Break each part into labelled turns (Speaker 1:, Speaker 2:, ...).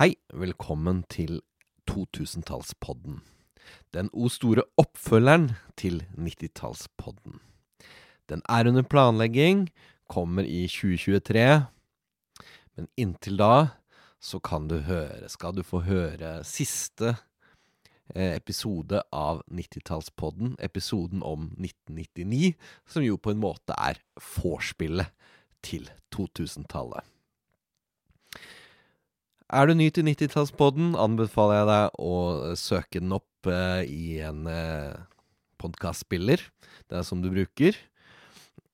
Speaker 1: Hei, velkommen til 2000-tallspodden. Den o store oppfølgeren til 90-tallspodden. Den er under planlegging, kommer i 2023. Men inntil da så kan du høre, skal du få høre siste eh, episode av 90-tallspodden, episoden om 1999, som jo på en måte er vorspielet til 2000-tallet. Er du ny til 90-tallspodden, anbefaler jeg deg å søke den opp eh, i en eh, podkastspiller. Det er som du bruker.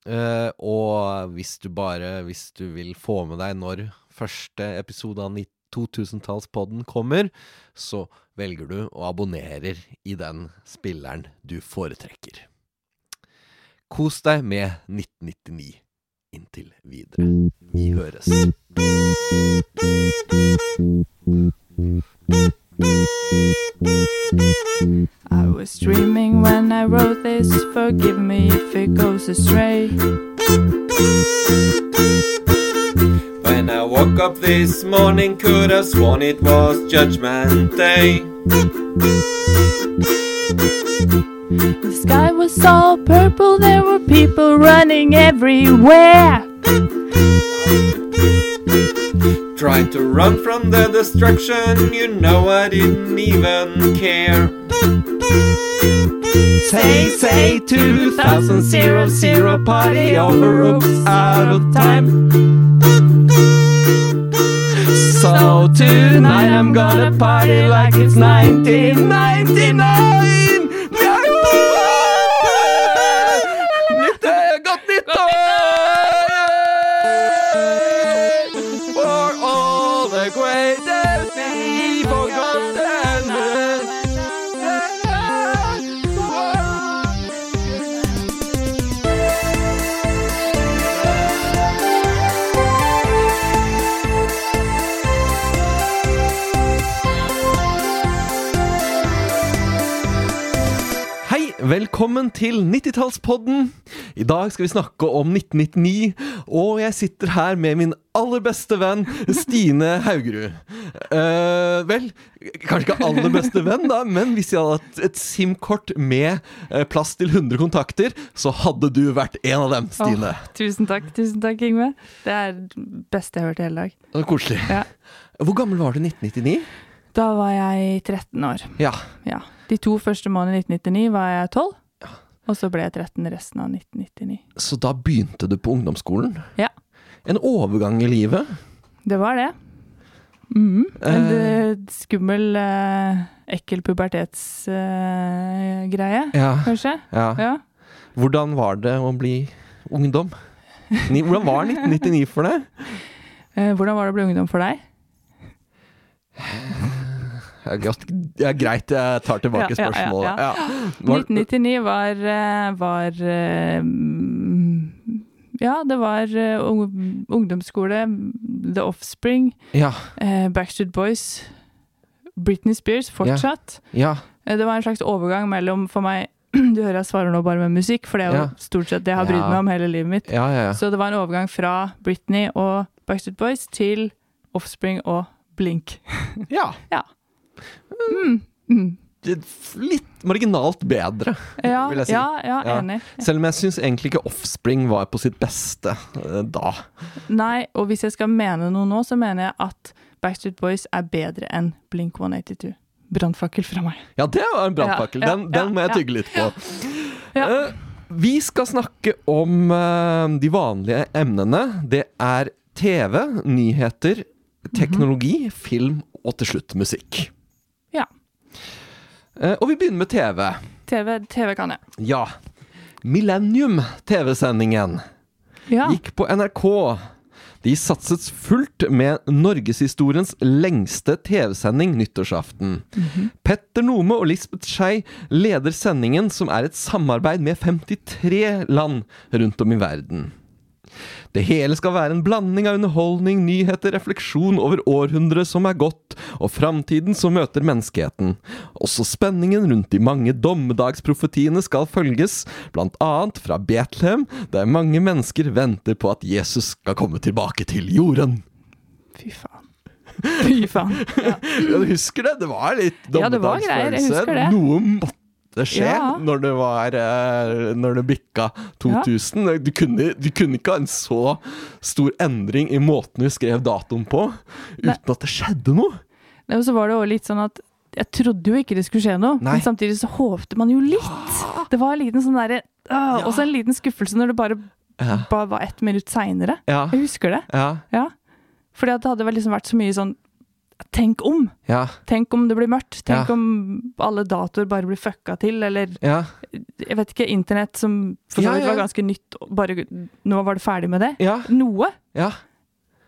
Speaker 1: Eh, og hvis du bare Hvis du vil få med deg når første episode av 2000-tallspodden kommer, så velger du og abonnerer i den spilleren du foretrekker. Kos deg med 1999 inntil videre. Vi høres.
Speaker 2: I was dreaming when I wrote this. Forgive me if it goes astray.
Speaker 3: When I woke up this morning, could have sworn it was Judgment Day.
Speaker 2: The sky was all purple, there were people running everywhere.
Speaker 3: Tried to run from the destruction, you know I didn't even care.
Speaker 2: Say, say, 2000, zero, zero, party over, oops, out of time. So tonight I'm gonna party like it's 1999!
Speaker 1: Nytt, godt nyttår! For all the greatest we forgotten Hei, velkommen til 90-tallspodden. I dag skal vi snakke om 1999, og jeg sitter her med min aller beste venn Stine Haugerud. Eh, vel, kanskje ikke aller beste venn, da, men hvis jeg hadde hatt et SIM-kort med eh, plass til 100 kontakter, så hadde du vært en av dem, Stine.
Speaker 4: Åh, tusen takk, tusen takk, Yngve. Det er det beste jeg har hørt i hele dag.
Speaker 1: Det var Koselig.
Speaker 4: Ja.
Speaker 1: Hvor gammel var du i 1999?
Speaker 4: Da var jeg 13 år.
Speaker 1: Ja.
Speaker 4: Ja. De to første månedene i 1999 var jeg 12, og så ble jeg 13 resten av 1999.
Speaker 1: Så da begynte du på ungdomsskolen?
Speaker 4: Ja.
Speaker 1: En overgang i livet?
Speaker 4: Det var det. Mm. En
Speaker 1: Eh.
Speaker 4: eh, skummel, eh, ekkel pubertetsgreie, greie
Speaker 1: Ja.
Speaker 4: kanskje.
Speaker 1: ja.
Speaker 4: Ja.
Speaker 1: Hvordan var det å bli ungdom? Ni, hvordan var 1999 for deg?
Speaker 4: Eh, hvordan var det å bli ungdom for deg?
Speaker 1: Ja, godt- ja, greit, jeg tar tilbake
Speaker 4: Ja, ja, ja,
Speaker 1: spørsmålet. Ja,
Speaker 4: ja.
Speaker 1: Var,
Speaker 4: 1999 var, eh, var eh, mm, Ja, det var eh, ung- ungdomsskole, The Offspring,
Speaker 1: ja,
Speaker 4: eh, Backstreet Boys, Britney Spears fortsatt.
Speaker 1: ja,
Speaker 4: Eh, Det var en slags overgang mellom for meg Du hører jeg svarer nå bare med musikk, for det er jo
Speaker 1: Ja.
Speaker 4: stort sett det jeg har brydd
Speaker 1: Ja.
Speaker 4: meg om hele livet mitt.
Speaker 1: ja, ja, ja.
Speaker 4: Så det var en overgang fra Britney og Backstreet Boys til Offspring og Blink.
Speaker 1: ja.
Speaker 4: Ja. Mm.
Speaker 1: Det er f- Litt marginalt bedre,
Speaker 4: Ja,
Speaker 1: vil jeg si.
Speaker 4: ja, ja,
Speaker 1: Ja.
Speaker 4: enig.
Speaker 1: Selv om jeg syns egentlig ikke Offspring var på sitt beste eh, da.
Speaker 4: Nei, og hvis jeg skal mene noe nå, så mener jeg at Backstreet Boys er bedre enn Blink 182. Brannfakkel fra meg.
Speaker 1: Ja, det var en brannfakkel.
Speaker 4: Ja, ja,
Speaker 1: Den, den må
Speaker 4: ja,
Speaker 1: jeg tygge litt på.
Speaker 4: Ja.
Speaker 1: Eh, Vi skal snakke om eh, de vanlige emnene. Det er TV, nyheter,
Speaker 4: Mhm.
Speaker 1: teknologi, film og til slutt musikk.
Speaker 4: Ja.
Speaker 1: Eh, Og vi begynner med TV.
Speaker 4: TV, TV kan jeg.
Speaker 1: Ja. Millennium-TV-sendingen
Speaker 4: Ja.
Speaker 1: gikk på NRK. De satset fullt med norgeshistoriens lengste TV-sending nyttårsaften. Petter Nome og Lisbeth Skei leder sendingen, som er et samarbeid med 53 land rundt om i verden. Det hele skal være en blanding av underholdning, nyheter, refleksjon over århundret som er gått, og framtiden som møter menneskeheten. Også spenningen rundt de mange dommedagsprofetiene skal følges, blant annet fra Betlehem, der mange mennesker venter på at Jesus skal komme tilbake til jorden.
Speaker 4: Fy faen. Fy faen. Ja.
Speaker 1: Ja, du husker det? Det var litt
Speaker 4: Ja, det var greier, jeg husker det.
Speaker 1: Noe måtte skje
Speaker 4: Ja.
Speaker 1: når, det var, eh, når det bikka 2000. Du, kunne, du kunne ikke ha en så stor endring i måten du skrev datoen på, uten
Speaker 4: Nei.
Speaker 1: at det skjedde noe.
Speaker 4: Nei, Og så var det også litt sånn at jeg trodde jo ikke det skulle skje noe,
Speaker 1: Nei.
Speaker 4: men samtidig så håpte man jo litt. Det var en liten sånn derre øh, Også en liten skuffelse når det bare,
Speaker 1: Ja.
Speaker 4: bare var ett minutt seinere.
Speaker 1: Ja,
Speaker 4: Jeg husker det.
Speaker 1: ja,
Speaker 4: Ja. Fordi at det hadde vel liksom vært så mye sånn Tenk om!
Speaker 1: ja.
Speaker 4: Tenk om det blir mørkt. Tenk
Speaker 1: Ja.
Speaker 4: om alle datoer bare blir fucka til, eller
Speaker 1: ja.
Speaker 4: jeg vet ikke, internett som for
Speaker 1: Ja,
Speaker 4: så vidt
Speaker 1: ja.
Speaker 4: var ganske nytt, og bare nå var det ferdig med det.
Speaker 1: Ja,
Speaker 4: Noe!
Speaker 1: ja,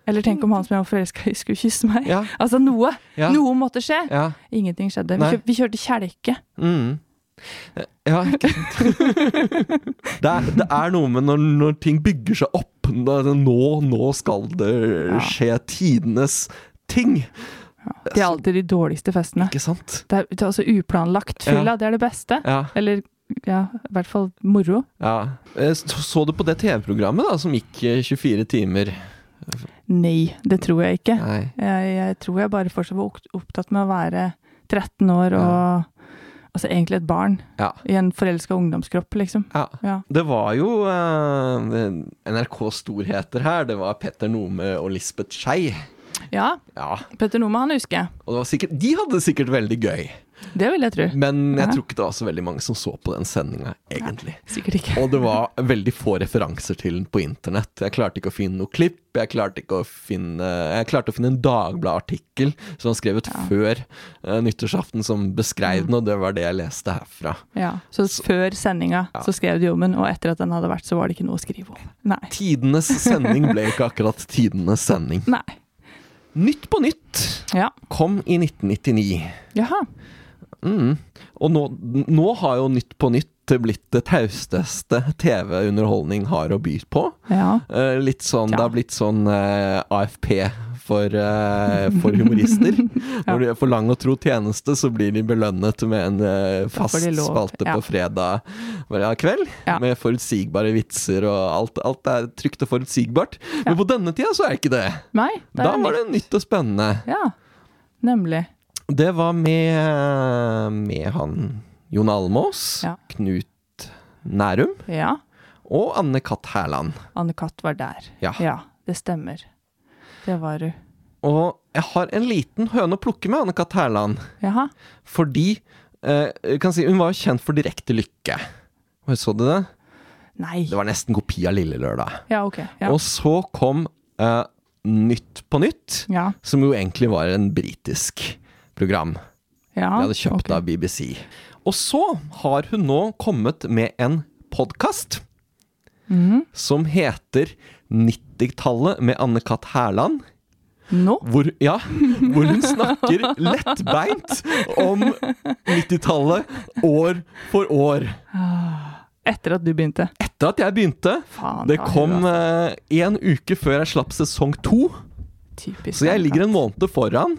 Speaker 4: Eller tenk om han som jeg var forelska i, skulle kysse meg.
Speaker 1: ja,
Speaker 4: Altså noe!
Speaker 1: ja,
Speaker 4: Noe måtte skje!
Speaker 1: ja.
Speaker 4: Ingenting skjedde. Vi,
Speaker 1: Nei.
Speaker 4: kjør, vi kjørte kjelke.
Speaker 1: Mm. Ja, ikke sant. det, er, det er noe med når, når ting bygger seg opp. sånn, Nå, nå skal det skje tidenes ting,
Speaker 4: Det er alltid de dårligste festene.
Speaker 1: ikke sant?
Speaker 4: Det er, det er altså uplanlagt fylla, det er det beste.
Speaker 1: Ja,
Speaker 4: Eller ja, i hvert fall moro.
Speaker 1: ja. Eh, Så, så du på det TV-programmet da, som gikk eh, 24 timer?
Speaker 4: Nei, det tror jeg ikke.
Speaker 1: Nei.
Speaker 4: Jeg, jeg tror jeg bare fortsatt var opp- opptatt med å være 13 år og Altså egentlig et barn
Speaker 1: Ja.
Speaker 4: i en forelska ungdomskropp, liksom.
Speaker 1: Ja.
Speaker 4: Ja.
Speaker 1: Det var jo eh, NRK-storheter her. Det var Petter Nome og Lisbeth Skei.
Speaker 4: ja
Speaker 1: Ja,
Speaker 4: Petter Nome, han husker jeg.
Speaker 1: og det var sikkert, De hadde det sikkert veldig gøy,
Speaker 4: Det vil jeg tro.
Speaker 1: men jeg
Speaker 4: Ja.
Speaker 1: tror ikke det var så veldig mange som så på den sendinga, egentlig.
Speaker 4: Sikkert ikke.
Speaker 1: Og det var veldig få referanser til den på internett. Jeg klarte ikke å finne noe klipp. Jeg klarte, ikke å finne, jeg klarte å finne en Dagbladet-artikkel som var skrevet før eh, nyttårsaften, som beskrev den, og det var det jeg leste herfra.
Speaker 4: Ja. Så før sendinga så skrev de om den, og etter at den hadde vært, så var det ikke noe å skrive om. Nei.
Speaker 1: Tidenes sending ble ikke akkurat tidenes sending.
Speaker 4: Nei.
Speaker 1: Nytt på nytt
Speaker 4: Ja.
Speaker 1: kom i 1999.
Speaker 4: Jaha.
Speaker 1: Mm. Og nå, nå har jo Nytt på nytt blitt det tausteste TV-underholdning har å by på.
Speaker 4: Ja.
Speaker 1: Eh, litt sånn,
Speaker 4: Tja.
Speaker 1: Det har blitt sånn eh, AFP for, eh, for humorister. Når de er for lang og tro tjeneste, så blir de belønnet med en eh, fast
Speaker 4: får de lov,
Speaker 1: spalte
Speaker 4: ja.
Speaker 1: på fredag hver kveld.
Speaker 4: Ja.
Speaker 1: Med forutsigbare vitser og alt. Alt er trygt og forutsigbart. Men på denne tida så er ikke det.
Speaker 4: Nei. da
Speaker 1: Da
Speaker 4: er
Speaker 1: var det nytt og spennende.
Speaker 4: Ja, nemlig.
Speaker 1: Det var med, med han Jon Almås,
Speaker 4: Ja.
Speaker 1: Knut Nærum
Speaker 4: Ja.
Speaker 1: og Anne Katt Hærland.
Speaker 4: Anne-Kat. var der.
Speaker 1: Ja.
Speaker 4: det stemmer. Det var du.
Speaker 1: Og jeg har en liten høne å plukke med Anne Katt Hærland,
Speaker 4: Jaha.
Speaker 1: fordi eh, jeg kan si, Hun var jo kjent for direkte lykke. Og Så du det?
Speaker 4: Nei.
Speaker 1: Det var nesten kopi av Lille Lørdag.
Speaker 4: Ja, ok. Ja.
Speaker 1: Og så kom eh, Nytt på nytt,
Speaker 4: ja.
Speaker 1: som jo egentlig var en britisk program.
Speaker 4: ja.
Speaker 1: De hadde kjøpt
Speaker 4: Ah, ok.
Speaker 1: av BBC. Og så har hun nå kommet med en podkast
Speaker 4: Mhm.
Speaker 1: som heter 90-tallet med Anne-Kat. Hærland.
Speaker 4: Nå?
Speaker 1: Hvor, ja, hvor hun snakker lettbeint om 90-tallet år for år.
Speaker 4: Etter at du begynte.
Speaker 1: Etter at jeg begynte.
Speaker 4: Faen,
Speaker 1: Det
Speaker 4: da,
Speaker 1: kom
Speaker 4: Eva.
Speaker 1: én uke før jeg slapp sesong to.
Speaker 4: Typisk.
Speaker 1: Så jeg ligger
Speaker 4: Anne-Kat.
Speaker 1: en måned foran.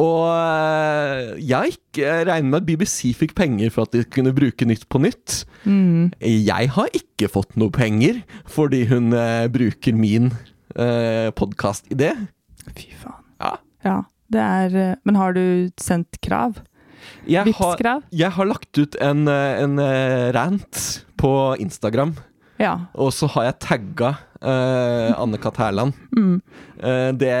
Speaker 1: Og eh, jeg har ikke regnet med at BBC fikk penger for at de kunne bruke Nytt på nytt.
Speaker 4: Mhm.
Speaker 1: Jeg har ikke fått noe penger fordi hun eh, bruker min uh, podkast-idé.
Speaker 4: Fy faen.
Speaker 1: Ja.
Speaker 4: Ja. Det er eh, Men har du sendt krav?
Speaker 1: Jeg, har-
Speaker 4: Vipps-krav?
Speaker 1: jeg har lagt ut en, eh, en eh, rant på Instagram,
Speaker 4: Ja.
Speaker 1: og så har jeg tagga eh, Anne-Kat. Hærland. Eh, det,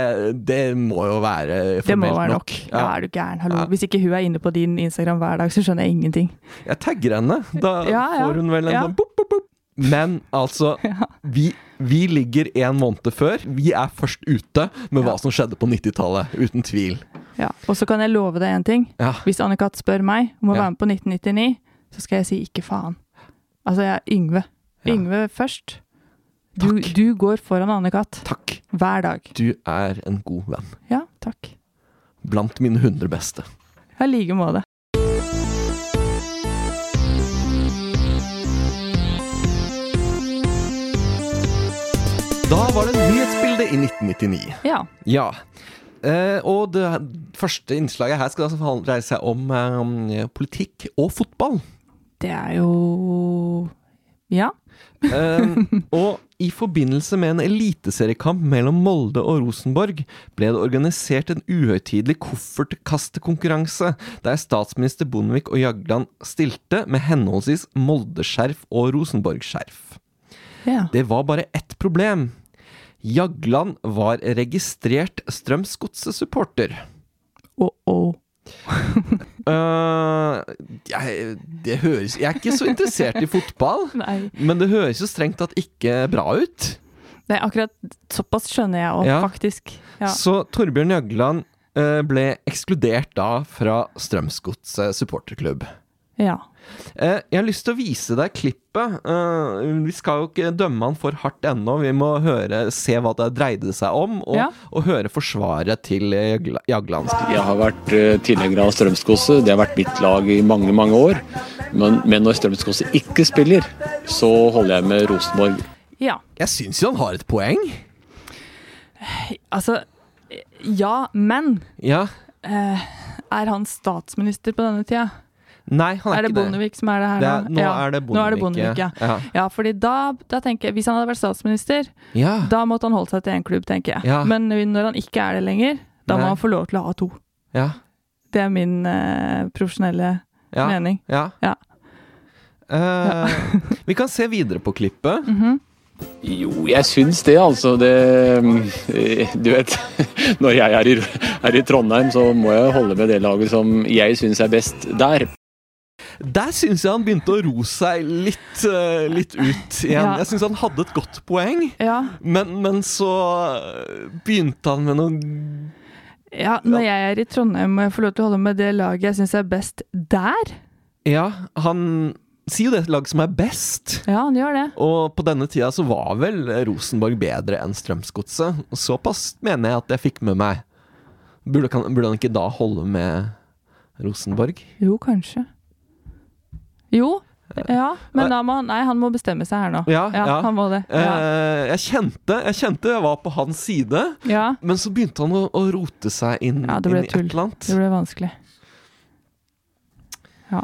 Speaker 1: det må jo være
Speaker 4: Mm. Det må
Speaker 1: formelt
Speaker 4: være nok.
Speaker 1: nok.
Speaker 4: Ja, er du gæren. Hallo.
Speaker 1: Ja.
Speaker 4: Hvis ikke hun er inne på din Instagram hver dag, så skjønner jeg ingenting.
Speaker 1: Jeg tagger henne. Da
Speaker 4: Ja, ja.
Speaker 1: får hun vel en
Speaker 4: Ja.
Speaker 1: sånn boop, boop, boop. Men altså, vi, vi ligger en måned før. Vi er først ute med hva
Speaker 4: Ja.
Speaker 1: som skjedde på 90-tallet, uten tvil.
Speaker 4: Ja. Og så kan jeg love deg én ting.
Speaker 1: Ja.
Speaker 4: Hvis Anne-Kat. spør meg om å
Speaker 1: Ja.
Speaker 4: være med på 1999, så skal jeg si ikke faen. Altså, jeg er Yngve.
Speaker 1: Ja.
Speaker 4: Yngve først. Du,
Speaker 1: Takk.
Speaker 4: du går foran Anne-Kat.
Speaker 1: Takk.
Speaker 4: hver dag.
Speaker 1: Du er en god venn.
Speaker 4: Ja, takk.
Speaker 1: Blant mine 100 beste.
Speaker 4: I like måte.
Speaker 1: Da var det nyhetsbildet i 1999.
Speaker 4: Ja.
Speaker 1: Ja. Eh, og det første innslaget her skal altså handle- dreie eh, seg om eh, politikk og fotball.
Speaker 4: Det er jo Ja.
Speaker 1: Eh, og i forbindelse med en eliteseriekamp mellom Molde og Rosenborg ble det organisert en uhøytidelig koffertkastekonkurranse, der statsminister Bondevik og Jagland stilte med henholdsvis Molde-skjerf og Rosenborg-skjerf.
Speaker 4: ja.
Speaker 1: Det var bare ett problem. Jagland var registrert Strømsgodset-supporter.
Speaker 4: Å, å.
Speaker 1: Eh, jeg, det høres Jeg er ikke så interessert i fotball,
Speaker 4: Nei.
Speaker 1: men det høres jo strengt tatt ikke bra ut.
Speaker 4: Nei, akkurat såpass skjønner jeg òg,
Speaker 1: Ja.
Speaker 4: faktisk. Ja.
Speaker 1: Så Torbjørn Jagland eh, ble ekskludert da fra Strømsgodset supporterklubb.
Speaker 4: ja.
Speaker 1: Eh, jeg har lyst til å vise deg klippet. Eh, vi skal jo ikke dømme han for hardt ennå. Vi må høre, se hva det dreide seg om, og,
Speaker 4: Ja.
Speaker 1: og høre forsvaret til eh, Jagla- Jagland.
Speaker 5: Jeg har vært eh, tilhenger av Strømsgodset. Det har vært mitt lag i mange, mange år. Men, men når Strømsgodset ikke spiller, så holder jeg med Rosenborg.
Speaker 4: ja.
Speaker 1: Jeg syns jo han har et poeng.
Speaker 4: Altså Ja, men
Speaker 1: Ja.
Speaker 4: eh, er han statsminister på denne tida?
Speaker 1: Nei, han er,
Speaker 4: Er det
Speaker 1: ikke
Speaker 4: Bondevik som er det her
Speaker 1: Det er- nå
Speaker 4: Ja,
Speaker 1: er det
Speaker 4: Nå er det
Speaker 1: Bondevik,
Speaker 4: Bondevik, ja.
Speaker 1: ja.
Speaker 4: ja fordi da, da tenker jeg, Hvis han hadde vært statsminister,
Speaker 1: Ja.
Speaker 4: da måtte han holdt seg til én klubb, tenker jeg.
Speaker 1: Ja.
Speaker 4: Men når han ikke er det lenger, da
Speaker 1: Nei.
Speaker 4: må han få lov til å ha to.
Speaker 1: ja.
Speaker 4: Det er min eh, profesjonelle
Speaker 1: ja.
Speaker 4: mening.
Speaker 1: Ja.
Speaker 4: Ja.
Speaker 1: Eh, vi kan se videre på klippet.
Speaker 5: Jo, jeg syns det, altså. Det eh, Du vet, når jeg er i, er i Trondheim, så må jeg holde med det laget som jeg syns er best der.
Speaker 1: Der syns jeg han begynte å ro seg litt, eh, litt ut igjen.
Speaker 4: Ja.
Speaker 1: Jeg syns han hadde et godt poeng,
Speaker 4: Ja,
Speaker 1: men, men så eh, begynte han med noe
Speaker 4: ja Når jeg er i Trondheim, må jeg få lov til å holde med det laget jeg syns er best der?
Speaker 1: Ja, han sier jo det lag som er best.
Speaker 4: Ja, han gjør det.
Speaker 1: Og på denne tida så var vel Rosenborg bedre enn Strømsgodset. Og Såpass mener jeg at jeg fikk med meg. Burde, kan, burde han ikke da holde med Rosenborg?
Speaker 4: Jo, kanskje. Jo. Ja, men da må han Nei, han må bestemme seg her nå.
Speaker 1: Ja, ja.
Speaker 4: Han må det. Ja.
Speaker 1: Eh, jeg, kjente, jeg kjente jeg var på hans side,
Speaker 4: ja.
Speaker 1: men så begynte han å, å rote seg inn,
Speaker 4: Ja, det
Speaker 1: inn
Speaker 4: ble
Speaker 1: i et
Speaker 4: tull.
Speaker 1: eller annet.
Speaker 4: Det ble vanskelig. Ja.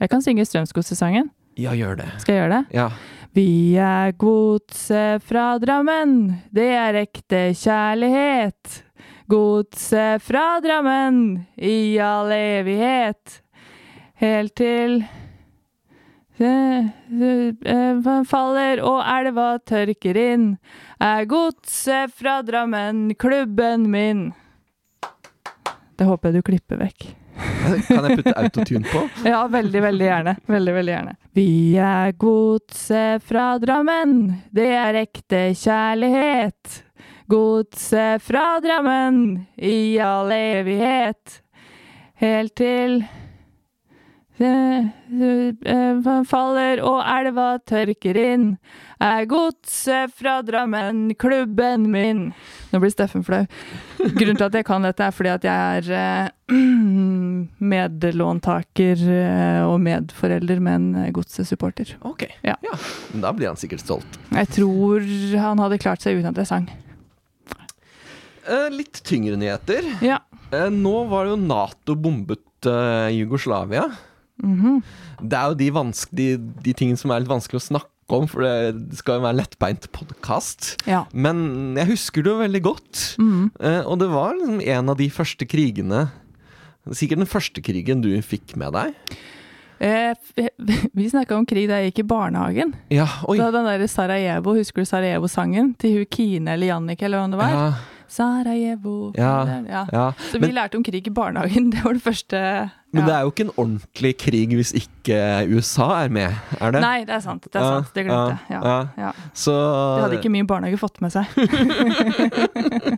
Speaker 4: Jeg kan synge Strømsgodsesangen.
Speaker 1: Ja, gjør det.
Speaker 4: Skal jeg gjøre det?
Speaker 1: Ja.
Speaker 4: Vi er godset fra Drammen, det er ekte kjærlighet. Godset fra Drammen i all evighet. Helt til eh, eh, faller og elva tørker inn. Er godset fra Drammen klubben min. Det håper jeg du klipper vekk.
Speaker 1: Kan jeg putte autotune på?
Speaker 4: Ja, veldig, veldig gjerne. Veldig, veldig gjerne. Vi er godset fra Drammen, det er ekte kjærlighet. Godset fra Drammen i all evighet. Helt til eh, eh, faller og elva tørker inn. Er godset fra Drammen klubben min. Nå blir Steffen flau. Grunnen til at jeg kan dette, er fordi at jeg er eh, medlåntaker eh, og medforelder, men eh, godsesupporter.
Speaker 1: Ok.
Speaker 4: Ja.
Speaker 1: ja. Men da blir han sikkert stolt.
Speaker 4: Jeg tror han hadde klart seg uten at jeg sang.
Speaker 1: Eh, litt tyngre nyheter.
Speaker 4: Ja.
Speaker 1: Eh, nå var det jo Nato bombet eh, Jugoslavia.
Speaker 4: Mhm.
Speaker 1: Det er jo de, vanske- de, de tingene som er litt vanskelig å snakke om, for det skal jo være en lettbeint podkast.
Speaker 4: Ja.
Speaker 1: Men jeg husker det jo veldig godt.
Speaker 4: Mhm.
Speaker 1: Eh, og det var liksom en av de første krigene Sikkert den første krigen du fikk med deg.
Speaker 4: Eh, f- vi snakka om krig da jeg gikk i barnehagen.
Speaker 1: Ja, oi.
Speaker 4: Da den derre Sarajevo, husker du Sarajevo-sangen? Til hun Kine eller Jannik eller hva det var?
Speaker 1: Ja,
Speaker 4: Sarajevo
Speaker 1: Ja.
Speaker 4: ja.
Speaker 1: ja.
Speaker 4: Så vi
Speaker 1: Men,
Speaker 4: lærte om krig i barnehagen. Det var det første ja.
Speaker 1: men det er jo ikke en ordentlig krig hvis ikke USA er med, er det?
Speaker 4: Nei, det er sant. Det er sant. Det glemte jeg. Ja. Ja.
Speaker 1: Så
Speaker 4: Det hadde ikke min barnehage fått med seg.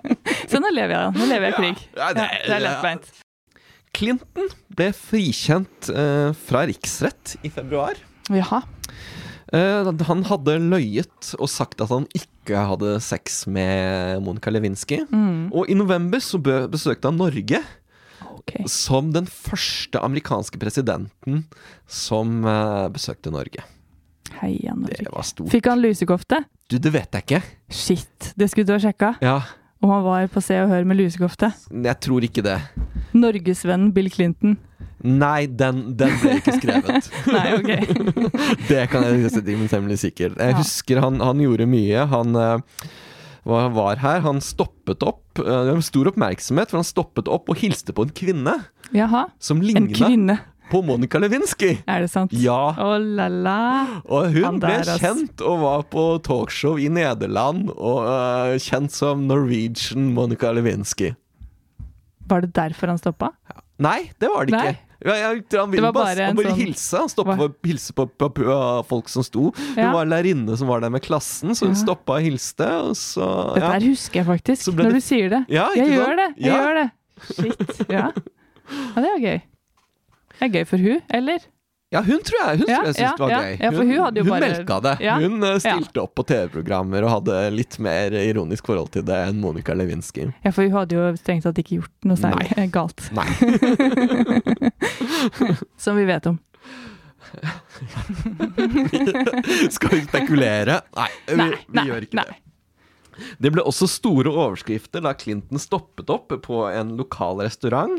Speaker 4: så nå lever jeg, nå lever jeg i krig.
Speaker 1: Ja, det
Speaker 4: Ja,
Speaker 1: er-
Speaker 4: det er lettbeint.
Speaker 1: Clinton ble frikjent eh, fra riksrett i februar.
Speaker 4: Jaha.
Speaker 1: Eh, han hadde løyet og sagt at han ikke hadde sex med Monica Lewinsky.
Speaker 4: Mm,
Speaker 1: Og i november så bø- besøkte han Norge
Speaker 4: ok.
Speaker 1: som den første amerikanske presidenten som eh, besøkte Norge.
Speaker 4: Heia
Speaker 1: Det
Speaker 4: Norge.
Speaker 1: var stort.
Speaker 4: Fikk han lusekofte?
Speaker 1: Du, det vet jeg ikke.
Speaker 4: Shit, det skulle du ha sjekka.
Speaker 1: Ja,
Speaker 4: Om han var på Se og Hør med lusekofte.
Speaker 1: jeg tror ikke det.
Speaker 4: Norgesvennen Bill Clinton.
Speaker 1: Nei, den, den ble ikke skrevet.
Speaker 4: Nei, ok.
Speaker 1: Det kan jeg si men temmelig sikkert. Jeg
Speaker 4: Ja.
Speaker 1: husker han, han gjorde mye. Han eh, var var her. Han stoppet opp. eh, Det var stor oppmerksomhet, for han stoppet opp og hilste på en kvinne
Speaker 4: Jaha.
Speaker 1: som
Speaker 4: En
Speaker 1: ligna
Speaker 4: kvinne,
Speaker 1: på Monica Lewinsky.
Speaker 4: er det sant?
Speaker 1: Ja.
Speaker 4: Å la la.
Speaker 1: Og hun
Speaker 4: Han
Speaker 1: ble
Speaker 4: der, ass.
Speaker 1: kjent og var på talkshow i Nederland, og eh, kjent som Norwegian Monica Lewinsky.
Speaker 4: Var det derfor han stoppa?
Speaker 1: Nei, det var det
Speaker 4: Nei.
Speaker 1: ikke. Ja, jeg, han ville
Speaker 4: Det var
Speaker 1: bare,
Speaker 4: bare en
Speaker 1: han ville
Speaker 4: sånn-
Speaker 1: hilse. Han stoppa for å hilse på, på, på folk som sto. Hun
Speaker 4: Ja.
Speaker 1: var en lærerinne som var der med klassen, så hun
Speaker 4: Ja.
Speaker 1: stoppa og hilste. Og så,
Speaker 4: Det
Speaker 1: ja.
Speaker 4: der husker jeg faktisk,
Speaker 1: Så ble
Speaker 4: når
Speaker 1: det-
Speaker 4: du sier det.
Speaker 1: Ja,
Speaker 4: jeg
Speaker 1: ikke
Speaker 4: gjør det!
Speaker 1: sant?
Speaker 4: Jeg
Speaker 1: Ja.
Speaker 4: gjør det. Shit. Ja. ja, det er gøy. Det er gøy for hun, eller?
Speaker 1: ja, hun tror jeg, hun
Speaker 4: Ja,
Speaker 1: tror jeg syntes
Speaker 4: ja,
Speaker 1: det var
Speaker 4: ja.
Speaker 1: gøy.
Speaker 4: Ja, for hun hadde jo bare-
Speaker 1: melka det.
Speaker 4: Ja.
Speaker 1: Hun eh, stilte opp på TV-programmer og hadde litt mer ironisk forhold til det enn Monica Lewinsky.
Speaker 4: Ja, for hun hadde jo strengt tatt ikke gjort noe særlig galt.
Speaker 1: Nei.
Speaker 4: Som vi vet om.
Speaker 1: Skal vi spekulere? Nei, vi,
Speaker 4: Nei,
Speaker 1: vi
Speaker 4: nei,
Speaker 1: gjør ikke
Speaker 4: nei.
Speaker 1: det. Det ble også store overskrifter da Clinton stoppet opp på en lokal restaurant.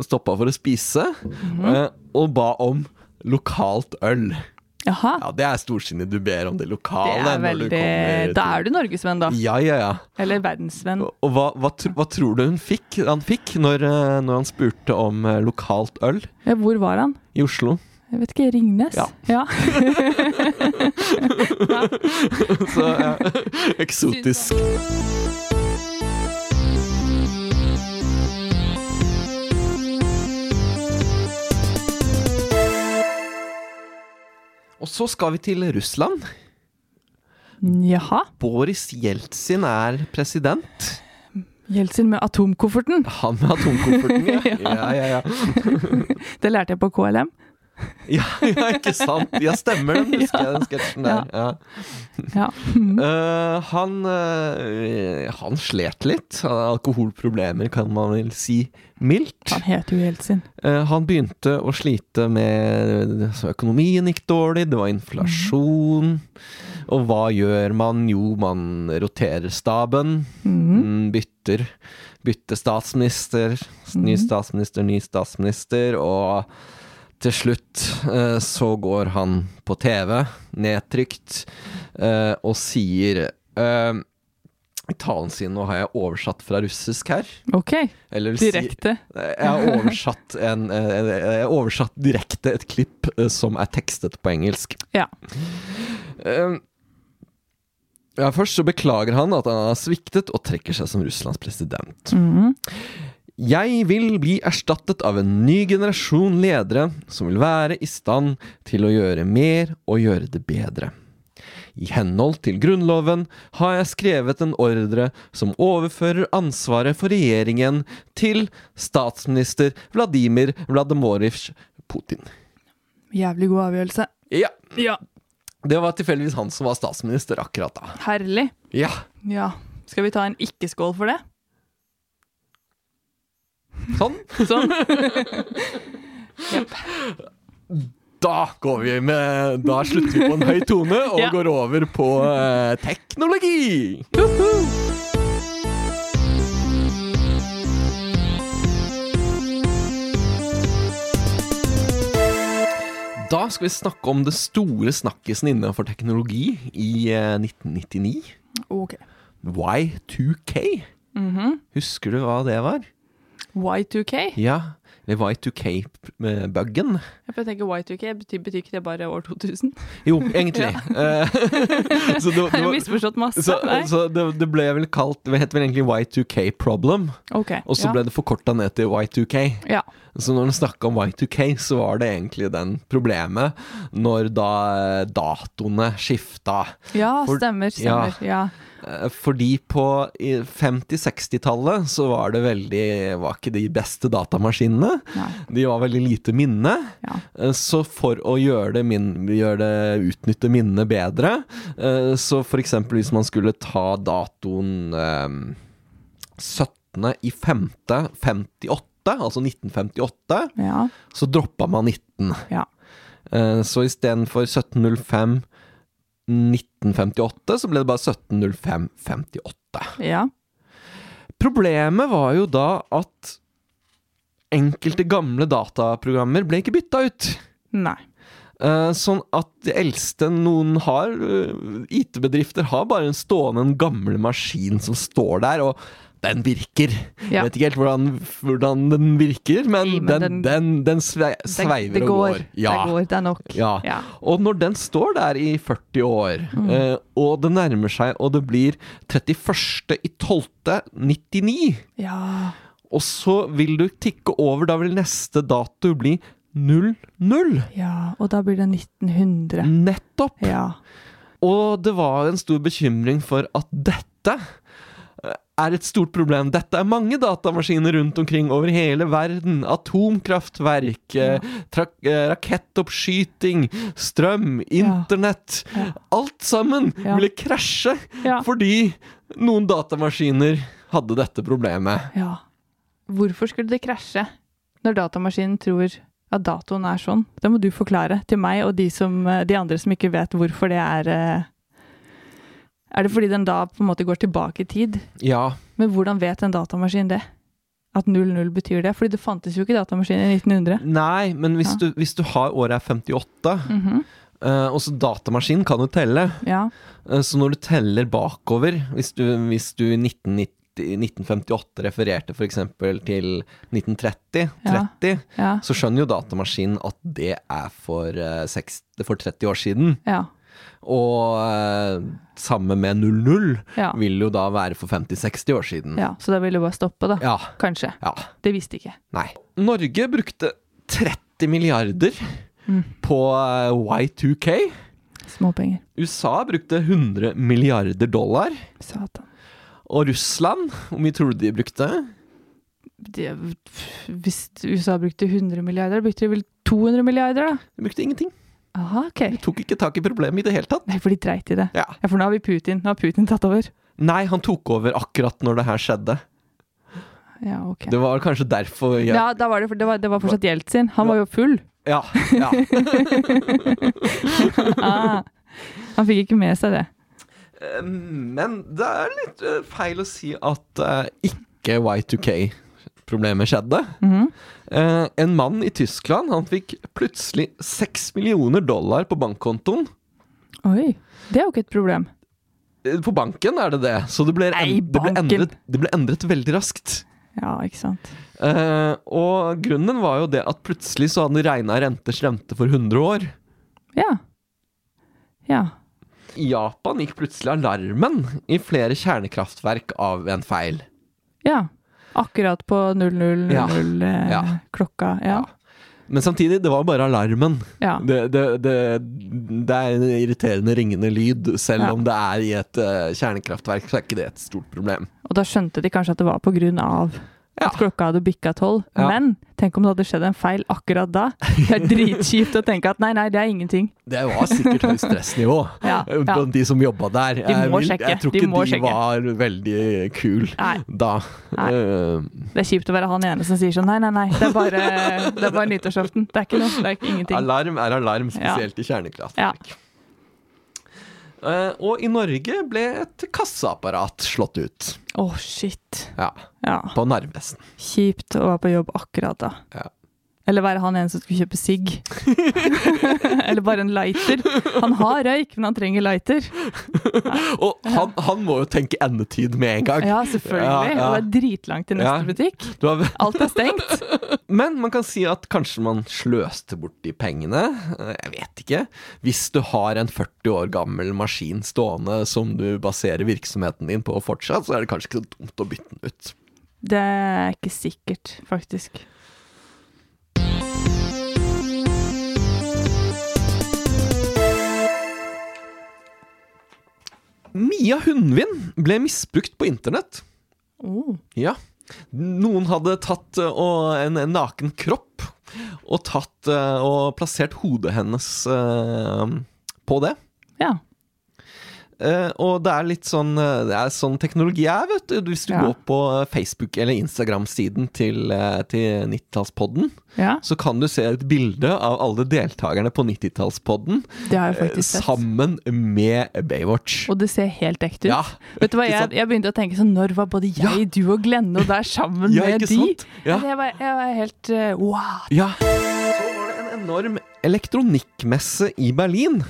Speaker 1: Stoppa for å spise,
Speaker 4: Mhm.
Speaker 1: eh, og ba om lokalt øl.
Speaker 4: Jaha.
Speaker 1: Ja, det er storsinnet du ber om det
Speaker 4: Det
Speaker 1: lokale.
Speaker 4: er
Speaker 1: når du
Speaker 4: veldig
Speaker 1: kommer
Speaker 4: Da
Speaker 1: til-
Speaker 4: er du norgesvenn, da.
Speaker 1: Ja, ja, ja.
Speaker 4: Eller verdensvenn.
Speaker 1: Og hva, hva, tr- hva tror du hun fikk, han fikk når, eh, når han spurte om eh, lokalt øl
Speaker 4: Ja, hvor var han?
Speaker 1: i Oslo?
Speaker 4: Jeg vet ikke. Ringnes?
Speaker 1: Ja. Så ja, eksotisk. Og så skal vi til Russland.
Speaker 4: Jaha.
Speaker 1: Boris Jeltsin er president.
Speaker 4: Jeltsin med atomkofferten.
Speaker 1: Han med atomkofferten, ja. Ja, ja, ja.
Speaker 4: Det lærte jeg på KLM.
Speaker 1: ja, ja ikke sant? Ja, stemmer den, husker jeg den sketsjen der. Ja.
Speaker 4: Ja.
Speaker 1: Eh, han, eh, han slet litt. Han hadde Alkoholproblemer, kan man vel si mildt.
Speaker 4: Han heter jo Jeltsin.
Speaker 1: Eh, han begynte å slite med så Økonomien gikk dårlig, det var inflasjon. Og hva gjør man? Jo, man roterer staben.
Speaker 4: Mhm,
Speaker 1: mm, Bytter. Bytter statsminister. s- Ny statsminister, ny statsminister. Og til slutt eh, så går han på TV, nedtrykt, eh, og sier eh, Talen sin nå har jeg oversatt fra russisk her.
Speaker 4: Ok.
Speaker 1: Eller si-
Speaker 4: Direkte.
Speaker 1: jeg har oversatt, en, eh, jeg har oversatt direkte et klipp eh, som er tekstet på engelsk.
Speaker 4: Ja.
Speaker 1: Eh, Ja, først så beklager han at han har sviktet og trekker seg som Russlands president.
Speaker 4: Mhm.
Speaker 1: Jeg vil bli erstattet av en ny generasjon ledere som vil være i stand til å gjøre mer og gjøre det bedre. I henhold til Grunnloven har jeg skrevet en ordre som overfører ansvaret for regjeringen til statsminister Vladimir Vladimirov Putin.
Speaker 4: Jævlig god avgjørelse.
Speaker 1: Ja,
Speaker 4: Ja.
Speaker 1: det var tilfeldigvis han som var statsminister akkurat da.
Speaker 4: Herlig.
Speaker 1: Ja,
Speaker 4: Ja. Skal vi ta en ikke-skål for det?
Speaker 1: sånn.
Speaker 4: Sånn.
Speaker 1: Da går vi med Da slutter vi på en høy tone og
Speaker 4: Ja.
Speaker 1: går over på eh, teknologi. Da skal vi snakke om det store snakkisen innenfor teknologi i eh, 1999.
Speaker 4: Ok.
Speaker 1: Y2K.
Speaker 4: Mhm.
Speaker 1: Husker du hva det var?
Speaker 4: Y2K?
Speaker 1: Ja, det var Y2K-buggen.
Speaker 4: Jeg tenker Y2K, betyr, betyr ikke det bare år 2000?
Speaker 1: Jo, egentlig. Eh, så det,
Speaker 4: Har
Speaker 1: det,
Speaker 4: jeg
Speaker 1: var,
Speaker 4: misforstått masse?
Speaker 1: så,
Speaker 4: Nei.
Speaker 1: så det, det ble vel kalt Det het vel egentlig Y2K-problem,
Speaker 4: Ok.
Speaker 1: og så
Speaker 4: ja.
Speaker 1: ble det forkorta ned til Y2K.
Speaker 4: Ja.
Speaker 1: Så når han snakka om Y2K, så var det egentlig den problemet når da eh, datoene skifta.
Speaker 4: ja,
Speaker 1: For-
Speaker 4: stemmer. stemmer. Ja.
Speaker 1: Eh, Fordi på i 50-60-tallet så var det veldig Var ikke de beste datamaskinene.
Speaker 4: Nei.
Speaker 1: De var veldig lite minne.
Speaker 4: Ja.
Speaker 1: Eh, Så for å gjøre det, min, gjøre det utnytte minnet bedre, eh, så for eksempel hvis man skulle ta datoen eh, 17. i 5. 58, altså 1958,
Speaker 4: Ja.
Speaker 1: så droppa man 19.
Speaker 4: Ja.
Speaker 1: Eh, Så istedenfor 1705 1958, så ble det bare 1705 58.
Speaker 4: ja.
Speaker 1: Problemet var jo da at enkelte gamle dataprogrammer ble ikke bytta ut.
Speaker 4: Nei.
Speaker 1: Eh, Sånn at det eldste noen har, eh, IT-bedrifter, har bare en stående en gammel maskin som står der, og den virker.
Speaker 4: Ja.
Speaker 1: Jeg vet ikke helt hvordan, hvordan den virker, men,
Speaker 4: Nei, men
Speaker 1: den,
Speaker 4: den-
Speaker 1: den, den svei, sveiver
Speaker 4: det
Speaker 1: og går.
Speaker 4: går. Det går, det er nok.
Speaker 1: Ja. Og når den står der i 40 år,
Speaker 4: Mm.
Speaker 1: eh, og det nærmer seg, og det blir 31.12.99
Speaker 4: Ja.
Speaker 1: og så vil du tikke over, da vil neste dato bli 00.
Speaker 4: Ja, og da blir det
Speaker 1: Mm.
Speaker 4: 1900.
Speaker 1: Nettopp.
Speaker 4: Ja.
Speaker 1: Og det var en stor bekymring for at dette eh, er et stort problem. Dette er mange datamaskiner rundt omkring over hele verden. Atomkraftverk, eh, trak- eh, rakettoppskyting, strøm,
Speaker 4: Ja.
Speaker 1: internett.
Speaker 4: Ja.
Speaker 1: Alt sammen
Speaker 4: Ja.
Speaker 1: ville krasje
Speaker 4: Ja.
Speaker 1: fordi noen datamaskiner hadde dette problemet.
Speaker 4: ja. Hvorfor skulle det krasje når datamaskinen tror at datoen er sånn? Det må du forklare til meg og de, som, de andre som ikke vet hvorfor det er eh, Er det fordi den da på en måte går tilbake i tid?
Speaker 1: Ja,
Speaker 4: Men hvordan vet en datamaskin det? At 00 betyr det? Fordi det fantes jo ikke datamaskin i 1900.
Speaker 1: Nei, men hvis,
Speaker 4: Ja.
Speaker 1: du, hvis du har året er 58,
Speaker 4: Mhm.
Speaker 1: eh, og så datamaskinen kan jo telle,
Speaker 4: Ja.
Speaker 1: eh, så når du teller bakover, hvis du, hvis du i 1990 1958 refererte f.eks. til 1930,
Speaker 4: Ja.
Speaker 1: 30,
Speaker 4: Ja.
Speaker 1: så skjønner jo datamaskinen at det er for, eh, seks- for 30 år siden.
Speaker 4: Ja.
Speaker 1: Og eh, samme med 00
Speaker 4: ja.
Speaker 1: vil jo da være for 50-60 år siden.
Speaker 4: ja. Så da ville det bare stoppe, da.
Speaker 1: ja.
Speaker 4: Kanskje.
Speaker 1: ja.
Speaker 4: Det visste ikke.
Speaker 1: Nei. Norge brukte 30 milliarder
Speaker 4: Mm.
Speaker 1: på eh, Y2K.
Speaker 4: Småpenger.
Speaker 1: USA brukte 100 milliarder dollar.
Speaker 4: Satan.
Speaker 1: Og Russland, hvor mye tror du de brukte?
Speaker 4: det, hvis USA brukte 100 milliarder, brukte de vel 200 milliarder, da?
Speaker 1: De brukte ingenting.
Speaker 4: Aha, ok.
Speaker 1: De tok ikke tak i problemet i det hele tatt.
Speaker 4: Nei, for de dreit i det.
Speaker 1: Ja.
Speaker 4: Ja, For nå har vi Putin. Nå har Putin tatt over.
Speaker 1: Nei, han tok over akkurat når det her skjedde.
Speaker 4: Ja, ok.
Speaker 1: Det var kanskje derfor
Speaker 4: ja.
Speaker 1: jeg,
Speaker 4: da var det, for det, var, det var fortsatt Jeltsin. Han var jo full.
Speaker 1: Ja. ja.
Speaker 4: Ah, han fikk ikke med seg det.
Speaker 1: Eh, Men det er litt eh, feil å si at eh, ikke Y2K-problemet skjedde.
Speaker 4: Mhm.
Speaker 1: Eh, en mann i Tyskland han fikk plutselig 6 millioner dollar på bankkontoen.
Speaker 4: Oi. Det er jo ikke et problem.
Speaker 1: Eh, På banken er det det, så det ble, en-
Speaker 4: Nei,
Speaker 1: det ble,
Speaker 4: banken.
Speaker 1: endret, det ble endret veldig raskt.
Speaker 4: Ja, ikke sant.
Speaker 1: Eh, og grunnen var jo det at plutselig så hadde regna renters rente for 100 år.
Speaker 4: Ja. Ja.
Speaker 1: I Japan gikk plutselig alarmen i flere kjernekraftverk av en feil.
Speaker 4: Ja. Akkurat på 0000
Speaker 1: Ja.
Speaker 4: eh,
Speaker 1: Ja.
Speaker 4: klokka. Ja.
Speaker 1: Men samtidig, det var bare alarmen.
Speaker 4: ja.
Speaker 1: Det, det, det, det er en irriterende ringende lyd. Selv
Speaker 4: Ja.
Speaker 1: om det er i et eh, kjernekraftverk, så er ikke det et stort problem.
Speaker 4: Og da skjønte de kanskje at det var på grunn av
Speaker 1: Ja.
Speaker 4: at klokka hadde bikka tolv.
Speaker 1: Ja.
Speaker 4: Men tenk om det hadde skjedd en feil akkurat da. Det er dritkjipt å tenke at nei, nei, det er ingenting.
Speaker 1: Det var sikkert høyt stressnivå
Speaker 4: Ja,
Speaker 1: eh,
Speaker 4: ja.
Speaker 1: blant de som jobba der. Jeg
Speaker 4: må
Speaker 1: vil-
Speaker 4: sjekke,
Speaker 1: Jeg tror
Speaker 4: de
Speaker 1: ikke
Speaker 4: må
Speaker 1: de,
Speaker 4: sjekke.
Speaker 1: var veldig kul
Speaker 4: Nei,
Speaker 1: da.
Speaker 4: Nei.
Speaker 1: Eh,
Speaker 4: det er kjipt å være han ene som sier sånn nei, nei, nei, det er bare, det er bare nyttårsaften. Det er ikke noe, det er ikke ingenting.
Speaker 1: Alarm er alarm,
Speaker 4: Ja.
Speaker 1: spesielt i kjernekraftverk. Eh, og i Norge ble et kassaapparat slått ut.
Speaker 4: Å, shit.
Speaker 1: Ja,
Speaker 4: Ja.
Speaker 1: på Narvesen.
Speaker 4: Kjipt å være på jobb akkurat da.
Speaker 1: Ja.
Speaker 4: Eller være han ene som skulle kjøpe sigg. Eller bare en lighter. Han har røyk, men han trenger lighter.
Speaker 1: Og han, han må jo tenke endetid med en gang.
Speaker 4: Ja, selvfølgelig.
Speaker 1: Ja, ja.
Speaker 4: Og det er dritlangt til neste
Speaker 1: Ja.
Speaker 4: butikk.
Speaker 1: Du har,
Speaker 4: Alt er stengt.
Speaker 1: men man kan si at kanskje man sløste bort de pengene. Eh, Jeg vet ikke. Hvis du har en 40 år gammel maskin stående som du baserer virksomheten din på fortsatt, så er det kanskje ikke så dumt å bytte den ut.
Speaker 4: Det er ikke sikkert, faktisk.
Speaker 1: Mia Hundvin ble misbrukt på internett.
Speaker 4: Oh.
Speaker 1: Ja. Noen hadde tatt eh, og en, en naken kropp og, tatt, eh, og plassert hodet hennes eh, på det.
Speaker 4: Ja.
Speaker 1: Eh, og det er litt sånn eh, Det er sånn teknologi er, vet du. Hvis du
Speaker 4: Ja.
Speaker 1: går på eh, Facebook- eller Instagram-siden til, eh, til 90-tallspodden,
Speaker 4: Ja,
Speaker 1: så kan du se et bilde av alle deltakerne på 90-tallspodden
Speaker 4: det har jeg
Speaker 1: eh,
Speaker 4: faktisk sett.
Speaker 1: sammen med Baywatch.
Speaker 4: Og det ser helt ekte ut.
Speaker 1: Ja,
Speaker 4: Vet du hva,
Speaker 1: ikke
Speaker 4: jeg,
Speaker 1: sant?
Speaker 4: jeg begynte å tenke sånn Når var både jeg,
Speaker 1: Ja.
Speaker 4: du og Glenne og der sammen
Speaker 1: ja,
Speaker 4: med
Speaker 1: ikke
Speaker 4: de?
Speaker 1: sant? Ja.
Speaker 4: Jeg, var, jeg var helt eh, wow.
Speaker 1: ja. Så var det en enorm elektronikkmesse i Berlin.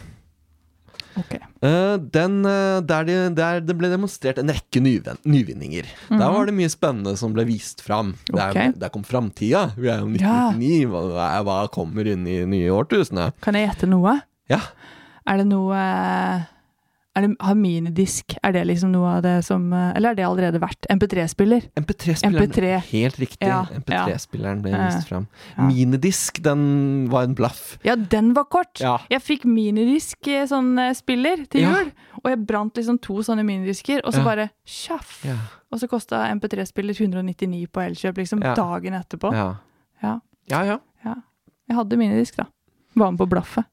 Speaker 4: Ok.
Speaker 1: Eh, den, eh, der, de, der det ble demonstrert en rekke nyven, nyvinninger. Der var det mye spennende som ble vist fram. Der,
Speaker 4: Ok.
Speaker 1: der kom framtida. Vi er jo
Speaker 4: Ja.
Speaker 1: 1999. Hva, hva kommer inn i nye årtusenet?
Speaker 4: Kan jeg gjette noe?
Speaker 1: Ja.
Speaker 4: Er det noe eh, er det, Har minidisk Er det liksom noe av det som eh, Eller er det allerede vært? MP3-spiller?
Speaker 1: MP3-spilleren.
Speaker 4: MP3.
Speaker 1: Helt riktig.
Speaker 4: Ja,
Speaker 1: MP3-spilleren ble
Speaker 4: ja.
Speaker 1: vist fram.
Speaker 4: Ja.
Speaker 1: Minidisk, den var en blaff.
Speaker 4: Ja, den var kort!
Speaker 1: Ja.
Speaker 4: Jeg fikk minidisk eh, sånn eh, spiller til
Speaker 1: Ja.
Speaker 4: jul, og jeg brant liksom to sånne minidisker, og så
Speaker 1: Ja.
Speaker 4: bare tjaff!
Speaker 1: Ja.
Speaker 4: Og så kosta MP3-spiller 199 på Elkjøp liksom
Speaker 1: Ja.
Speaker 4: dagen etterpå.
Speaker 1: Ja.
Speaker 4: Ja.
Speaker 1: ja, ja.
Speaker 4: Jeg hadde minidisk, da. Var med på blaffet.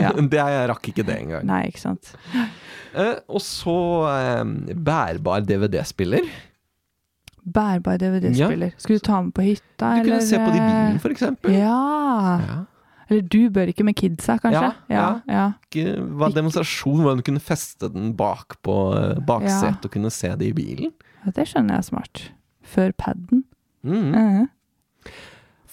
Speaker 4: Ja.
Speaker 1: Det, jeg rakk ikke det engang.
Speaker 4: Nei, ikke sant.
Speaker 1: Eh, og så eh, bærbar DVD-spiller.
Speaker 4: Bærbar DVD-spiller. Skulle du ta med på hytta,
Speaker 1: Du
Speaker 4: eller eh,
Speaker 1: kunne se på det i bilen, for eksempel.
Speaker 4: Ja.
Speaker 1: Ja.
Speaker 4: Eller du bør ikke med kidsa, kanskje?
Speaker 1: Ja, ja.
Speaker 4: ja.
Speaker 1: ikke var demonstrasjon hvordan du kunne feste den bak på eh, baksetet
Speaker 4: Ja.
Speaker 1: og kunne se det i bilen.
Speaker 4: Ja, Det skjønner jeg er smart. Før paden.
Speaker 1: Mm.
Speaker 4: Mm.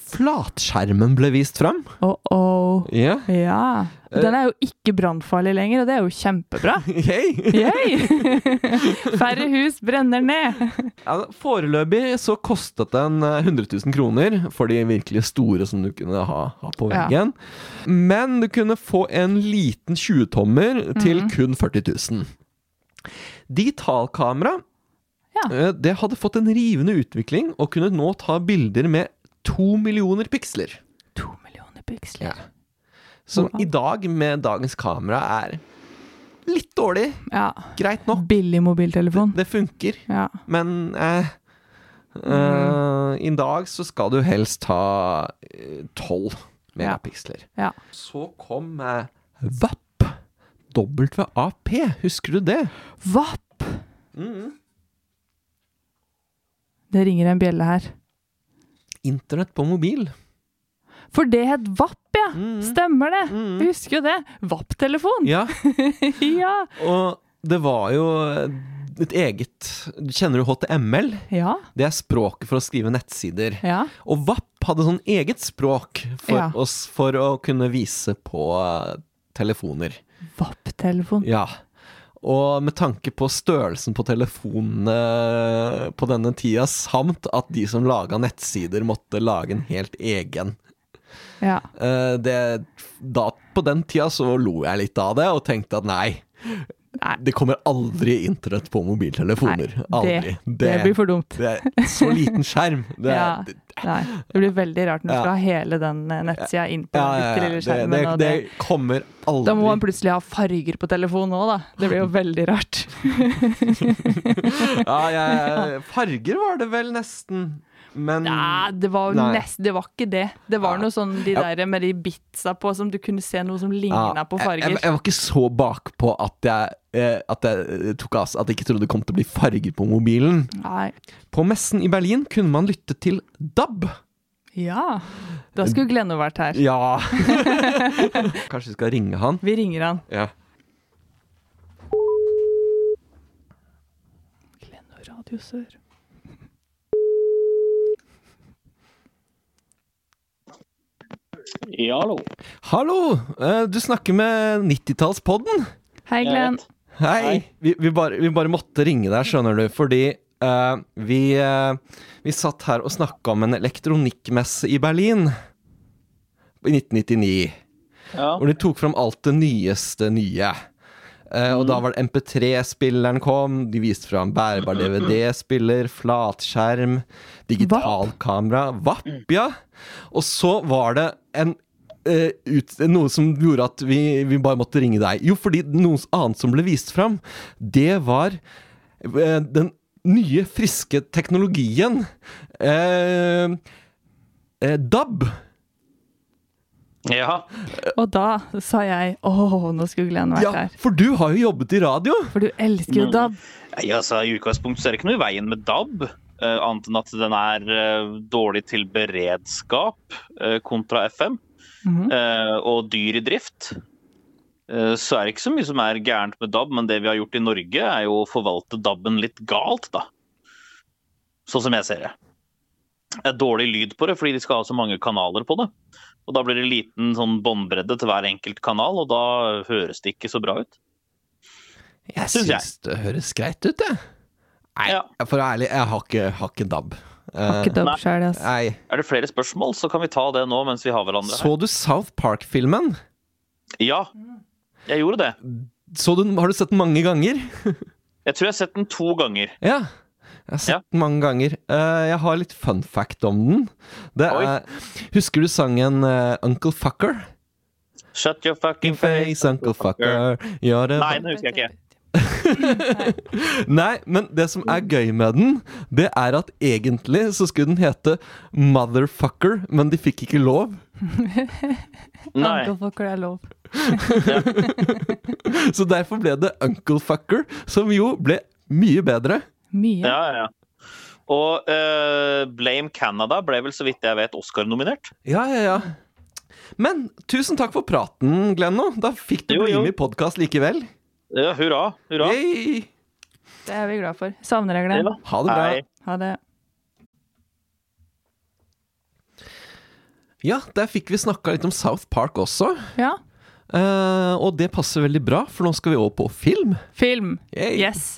Speaker 1: Flatskjermen ble vist fram.
Speaker 4: Oh, oh.
Speaker 1: Ja.
Speaker 4: Ja.
Speaker 1: Eh.
Speaker 4: Den er jo ikke brannfarlig lenger, og det er jo kjempebra.
Speaker 1: Yay.
Speaker 4: Yay! Færre hus brenner ned.
Speaker 1: Ja, foreløpig så kostet den eh, 100 000 kroner for de virkelig store som du kunne ha, ha på
Speaker 4: Ja.
Speaker 1: veggen. Men du kunne få en liten 20-tommer til
Speaker 4: Mhm.
Speaker 1: kun 40 000. Digitalkamera
Speaker 4: Ja.
Speaker 1: eh, det hadde fått en rivende utvikling og kunne nå ta bilder med to millioner piksler.
Speaker 4: To millioner piksler.
Speaker 1: Ja. Som
Speaker 4: Wow.
Speaker 1: i dag, med dagens kamera, er litt dårlig.
Speaker 4: Ja.
Speaker 1: Greit nok.
Speaker 4: Billig mobiltelefon.
Speaker 1: Det funker,
Speaker 4: Ja.
Speaker 1: men eh,
Speaker 4: Mm.
Speaker 1: eh, I dag så skal du helst ha tolv megapiksler.
Speaker 4: Ja.
Speaker 1: Så kom eh, VAP. WAP, husker du det?
Speaker 4: Vapp!
Speaker 1: Mm.
Speaker 4: Det ringer en bjelle her.
Speaker 1: Internett på mobil.
Speaker 4: For det het Vapp, ja!
Speaker 1: Mm.
Speaker 4: Stemmer det!
Speaker 1: Mm.
Speaker 4: Vi Husker jo det. Vapp-telefon!
Speaker 1: Ja,
Speaker 4: Ja.
Speaker 1: og det var jo et eget Kjenner du HTML?
Speaker 4: ja.
Speaker 1: Det er språket for å skrive nettsider.
Speaker 4: Ja.
Speaker 1: Og VAP hadde sånn eget språk for
Speaker 4: Ja.
Speaker 1: oss for å kunne vise på eh, telefoner.
Speaker 4: Vapp-telefon.
Speaker 1: Ja. Og med tanke på størrelsen på telefonene eh, på denne tida, samt at de som laga nettsider, måtte lage en helt egen.
Speaker 4: Ja.
Speaker 1: Eh, Det, da, på den tida så lo jeg litt av det, og tenkte at nei,
Speaker 4: Nei.
Speaker 1: det kommer aldri internett på mobiltelefoner. aldri.
Speaker 4: Det, det blir for dumt.
Speaker 1: det er så liten skjerm. Det,
Speaker 4: Ja.
Speaker 1: det,
Speaker 4: Nei, det blir veldig rart når du
Speaker 1: Ja.
Speaker 4: skal ha hele den eh, nettsida inn på
Speaker 1: ja,
Speaker 4: den
Speaker 1: ja,
Speaker 4: bitte
Speaker 1: ja.
Speaker 4: lille
Speaker 1: Det,
Speaker 4: skjermen.
Speaker 1: det,
Speaker 4: og
Speaker 1: det
Speaker 4: det,
Speaker 1: kommer aldri
Speaker 4: da må man plutselig ha farger på telefonen òg, da. Det blir jo veldig rart.
Speaker 1: ja, jeg- Farger var det vel nesten, men
Speaker 4: Nei, det var jo
Speaker 1: Nei.
Speaker 4: nest, det var ikke det. Det var
Speaker 1: Ja.
Speaker 4: noe sånn de
Speaker 1: Ja.
Speaker 4: der med de bitsa på som du kunne se noe som
Speaker 1: Ja, Eh,
Speaker 4: ligna på
Speaker 1: Jeg,
Speaker 4: farger.
Speaker 1: jeg, jeg var ikke så bakpå at jeg, eh, at jeg eh, tok av At jeg ikke trodde det kom til å bli farger på mobilen.
Speaker 4: Nei.
Speaker 1: På messen i Berlin kunne man lytte til DAB.
Speaker 4: Ja. Da skulle Glenno vært her.
Speaker 1: Ja Kanskje vi skal ringe han?
Speaker 4: Vi ringer han.
Speaker 1: Ja.
Speaker 4: Glenno Radio Sør.
Speaker 5: Ja, hallo.
Speaker 1: Hallo! eh, Du snakker med 90-tallspodden.
Speaker 4: Hei, Glenn.
Speaker 1: Hei!
Speaker 5: Hei.
Speaker 1: Vi, vi, bare, vi bare måtte ringe deg, skjønner du, fordi eh, vi, eh, vi satt her og snakka om en elektronikkmesse i Berlin i 1999.
Speaker 5: Ja.
Speaker 1: Hvor de tok fram alt det nyeste nye. Eh, og da var det MP3-spilleren kom, de viste fram bærbar DVD-spiller, flatskjerm, digitalkamera Vapp, ja. Og så var det en eh, ut, noe som gjorde at vi, vi bare måtte ringe deg. Jo, fordi noe annet som ble vist fram, det var eh, den nye, friske teknologien eh, eh, DAB.
Speaker 6: Ja.
Speaker 4: Og da sa jeg åh, nå skulle Glenn vært
Speaker 1: Ja,
Speaker 4: her.
Speaker 1: for du har jo jobbet i radio!
Speaker 4: For du elsker jo
Speaker 6: Mm.
Speaker 4: DAB.
Speaker 6: Nei, altså, I utgangspunktet så er det ikke noe i veien med DAB, eh, annet enn at den er eh, dårlig til beredskap eh, kontra FM,
Speaker 4: Mhm.
Speaker 6: eh, og dyr i drift. Eh, så er det ikke så mye som er gærent med DAB, men det vi har gjort i Norge, er jo å forvalte DAB-en litt galt, da. Sånn som jeg ser det. Det er dårlig lyd på det, fordi de skal ha så mange kanaler på det. Og da blir det liten sånn båndbredde til hver enkelt kanal, og da høres det ikke så bra ut.
Speaker 1: Jeg
Speaker 6: Syns jeg.
Speaker 1: syns det høres greit ut, jeg. Nei,
Speaker 6: Ja.
Speaker 1: for å være ærlig, jeg har ikke, har ikke DAB.
Speaker 4: Har ikke
Speaker 1: Eh,
Speaker 4: DAB
Speaker 6: Nei.
Speaker 4: sjøl, altså.
Speaker 1: Nei.
Speaker 6: Er det flere spørsmål, så kan vi ta det nå mens vi har hverandre her.
Speaker 1: Så du South Park-filmen?
Speaker 6: Ja, jeg gjorde det.
Speaker 1: Så du den- Har du sett den mange ganger?
Speaker 6: Jeg tror jeg har sett den to ganger.
Speaker 1: Ja. Jeg har sett
Speaker 6: Ja.
Speaker 1: den mange ganger. Eh, jeg har litt fun fact om den. Det
Speaker 6: Oi.
Speaker 1: er, husker du sangen eh, Uncle Fucker?
Speaker 6: Shut your
Speaker 1: Fucking
Speaker 6: fucking face.
Speaker 1: face, Uncle Fucker. You're the
Speaker 6: Nei, den husker jeg ikke.
Speaker 1: Nei, men det som er gøy med den, det er at egentlig så skulle den hete Motherfucker, men de fikk ikke lov.
Speaker 6: Nei.
Speaker 4: Uncle Fucker er lov.
Speaker 1: Så derfor ble det Uncle Fucker, som jo ble mye bedre.
Speaker 4: Mye.
Speaker 6: Ja, ja, ja. Og eh, Blame Canada ble vel, så vidt jeg vet, Oscar-nominert.
Speaker 1: Ja, ja, ja. Men tusen takk for praten, Glenno. Da fikk du
Speaker 6: Jo,
Speaker 1: bli
Speaker 6: jo.
Speaker 1: med i podkast likevel.
Speaker 6: Ja, hurra, hurra.
Speaker 1: Yay!
Speaker 4: Det er vi glad for. Savner deg, Glenn.
Speaker 6: Ja.
Speaker 1: Ha det bra.
Speaker 6: Hei.
Speaker 4: Ha det.
Speaker 1: Ja, der fikk vi snakka litt om South Park også.
Speaker 4: Ja.
Speaker 1: Eh, og det passer veldig bra, for nå skal vi over på film.
Speaker 4: Film.
Speaker 1: Yay.
Speaker 4: Yes.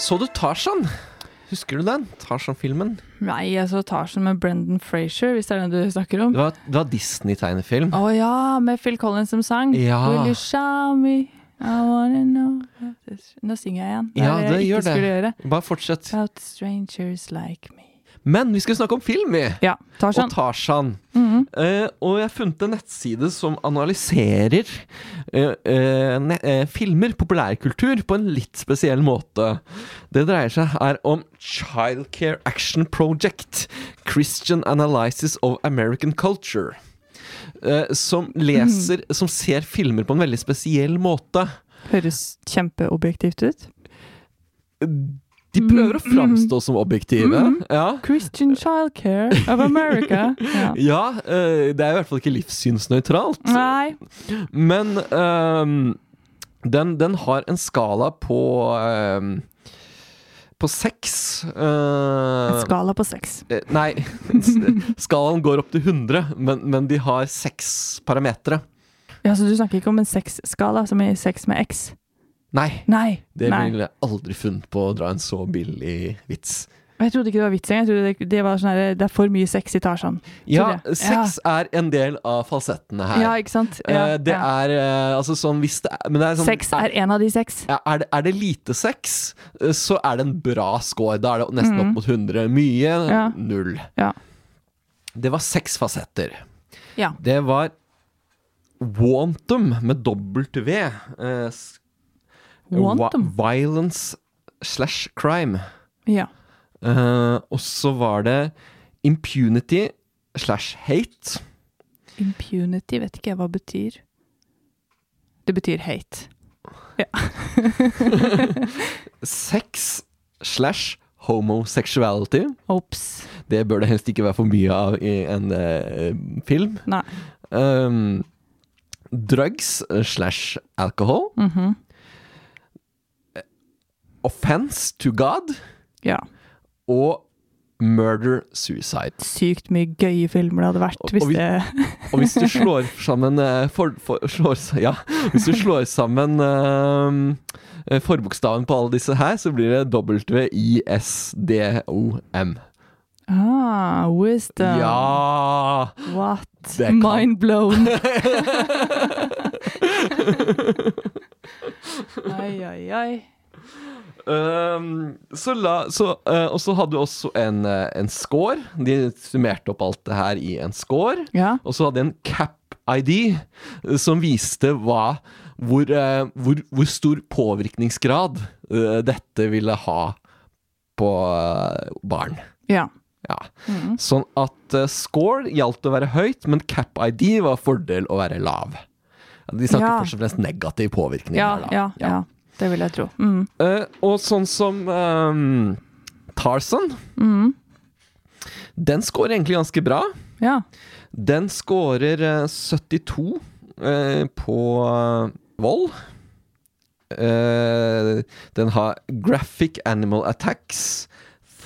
Speaker 1: Så du Tarzan? Husker du den? Tarzan-filmen?
Speaker 4: Nei, altså Tarzan med Brendan Frazier, hvis det er den du snakker om.
Speaker 1: Det var, det var Disney-tegnefilm.
Speaker 4: Å ja, med Phil Collins som sang.
Speaker 1: Ja.
Speaker 4: Will you show me? I wanna know about this- Nå synger jeg igjen. Det er
Speaker 1: Ja, det
Speaker 4: jeg
Speaker 1: gjør
Speaker 4: ikke
Speaker 1: det.
Speaker 4: skulle gjøre.
Speaker 1: Bare fortsett.
Speaker 4: About strangers like me.
Speaker 1: Men vi skal snakke om film, vi!
Speaker 4: Ja, Tarzan. Mhm.
Speaker 1: Og Tarzan. Eh, og jeg har funnet en nettside som analyserer eh, eh, ne eh, filmer, populærkultur, på en litt spesiell måte. Det dreier seg her om Childcare Action Project. Christian Analysis of American Culture. Eh, som leser
Speaker 4: Mhm.
Speaker 1: Som ser filmer på en veldig spesiell måte.
Speaker 4: Høres kjempeobjektivt ut.
Speaker 1: De
Speaker 4: Mhm.
Speaker 1: prøver å framstå som objektive. Ja
Speaker 4: Christian Childcare of America. Ja.
Speaker 1: Ja, eh, det er i hvert fall ikke livssynsnøytralt.
Speaker 4: Nei.
Speaker 1: Men ehm, den, den har en skala på ehm, På seks. eh,
Speaker 4: En skala på seks.
Speaker 1: eh, nei, skalaen går opp til 100, men, men de har seks parametere.
Speaker 4: Ja, så du snakker ikke om en seks-skala, som i sex med X?
Speaker 1: Nei,
Speaker 4: Nei.
Speaker 1: det
Speaker 4: Nei.
Speaker 1: ville jeg aldri funnet på å dra en så billig vits.
Speaker 4: Og Jeg trodde ikke det var vits engang. Jeg trodde det, det var sånn her, det er for mye sex i Tarzan.
Speaker 1: Ja,
Speaker 4: Tror jeg.
Speaker 1: seks er en del av falsettene her.
Speaker 4: Ja, ikke sant?
Speaker 1: Eh,
Speaker 4: Ja,
Speaker 1: det
Speaker 4: ja.
Speaker 1: er eh, altså sånn hvis det er, men det er sånn,
Speaker 4: Sex er en av de seks.
Speaker 1: Ja, er, det, er det lite sex, eh, så er det en bra score. Da er det nesten opp mot 100. Mye
Speaker 4: Mm. Ja.
Speaker 1: null.
Speaker 4: Ja.
Speaker 1: Det var seks fasetter.
Speaker 4: Ja.
Speaker 1: Det var Wantum med dobbelt V. eh, s-
Speaker 4: Wantum.
Speaker 1: wa- Violence slash crime.
Speaker 4: Ja.
Speaker 1: Eh, og så var det impunity slash hate.
Speaker 4: Impunity vet ikke jeg hva betyr. Det betyr hate.
Speaker 1: Sex slash homosexuality.
Speaker 4: Ops.
Speaker 1: Det bør det helst ikke være for mye av i en eh, film.
Speaker 4: Nei.
Speaker 1: um, drugs eh, slash alcohol.
Speaker 4: Mm. Mhm.
Speaker 1: Offense to God
Speaker 4: Ja.
Speaker 1: og murder suicide.
Speaker 4: Sykt mye gøye filmer det hadde vært
Speaker 1: Og-
Speaker 4: hvis
Speaker 1: og vi-
Speaker 4: det
Speaker 1: Og hvis du slår sammen eh, for, for, slår, s- Ja, hvis du slår sammen ehm, eh, forbokstaven på alle disse her, så blir det W-I-S-D-O-M.
Speaker 4: ah, Wisdom.
Speaker 1: Ja!
Speaker 4: What?
Speaker 1: Det kan-
Speaker 4: Mind blown. ai, ai, ai.
Speaker 1: Ehm, så la, så, eh, og så hadde du også en, eh, en score. De summerte opp alt det her i en score.
Speaker 4: Ja.
Speaker 1: Og så hadde de en cap-ID eh, som viste hva, hvor, eh, hvor, hvor stor påvirkningsgrad eh, dette ville ha på eh, barn.
Speaker 4: Ja.
Speaker 1: Ja.
Speaker 4: Mm.
Speaker 1: Sånn at eh, score gjaldt å være høyt, men cap-ID var fordel å være lav. De snakker
Speaker 4: Ja.
Speaker 1: først og fremst negativ påvirkning
Speaker 4: Ja,
Speaker 1: her, da.
Speaker 4: ja, ja. Det vil jeg tro. Mm.
Speaker 1: Eh, og sånn som ehm, Tarzan
Speaker 4: Mm.
Speaker 1: Den scorer egentlig ganske bra.
Speaker 4: Ja.
Speaker 1: Den scorer eh, 72 eh, på eh, vold. Eh, den har graphic animal attacks,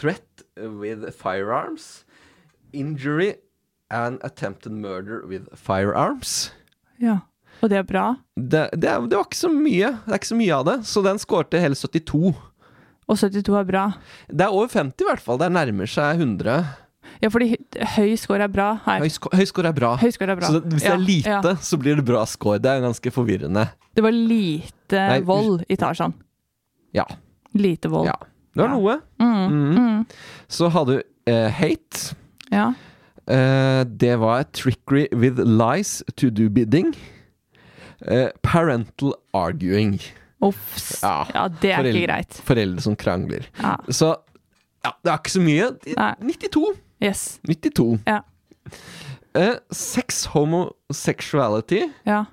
Speaker 1: threat with firearms, injury and attempted murder with firearms.
Speaker 4: ja. Og det er bra.
Speaker 1: Det, det, er- det var ikke så mye Det er ikke så mye av det, så den skårte hele 72.
Speaker 4: Og 72 er bra.
Speaker 1: Det er over 50 i hvert fall. Det nærmer seg 100.
Speaker 4: Ja, fordi høy score er bra her.
Speaker 1: Høysko- Høy score er bra.
Speaker 4: Høy score er bra.
Speaker 1: Så det, hvis det
Speaker 4: Ja,
Speaker 1: er lite,
Speaker 4: ja.
Speaker 1: så blir det bra score. Det er jo ganske forvirrende.
Speaker 4: Det var lite
Speaker 1: Nei,
Speaker 4: vold i Tarzan.
Speaker 1: Ja.
Speaker 4: Lite vold.
Speaker 1: ja. Det var
Speaker 4: Ja.
Speaker 1: noe.
Speaker 4: Mm.
Speaker 1: Mhm. Så hadde du eh, hate.
Speaker 4: Ja.
Speaker 1: Eh, det var trickery with lies to do bidding. Eh, parental arguing.
Speaker 4: Ofs. Ja.
Speaker 1: Ja.
Speaker 4: det er
Speaker 1: Foreldre-
Speaker 4: ikke greit.
Speaker 1: Foreldre som krangler.
Speaker 4: Ja.
Speaker 1: Så ja, det er ikke så mye.
Speaker 4: Nei.
Speaker 1: 92.
Speaker 4: Yes.
Speaker 1: 92.
Speaker 4: Ja.
Speaker 1: Eh, sex homosexuality.
Speaker 4: Ja.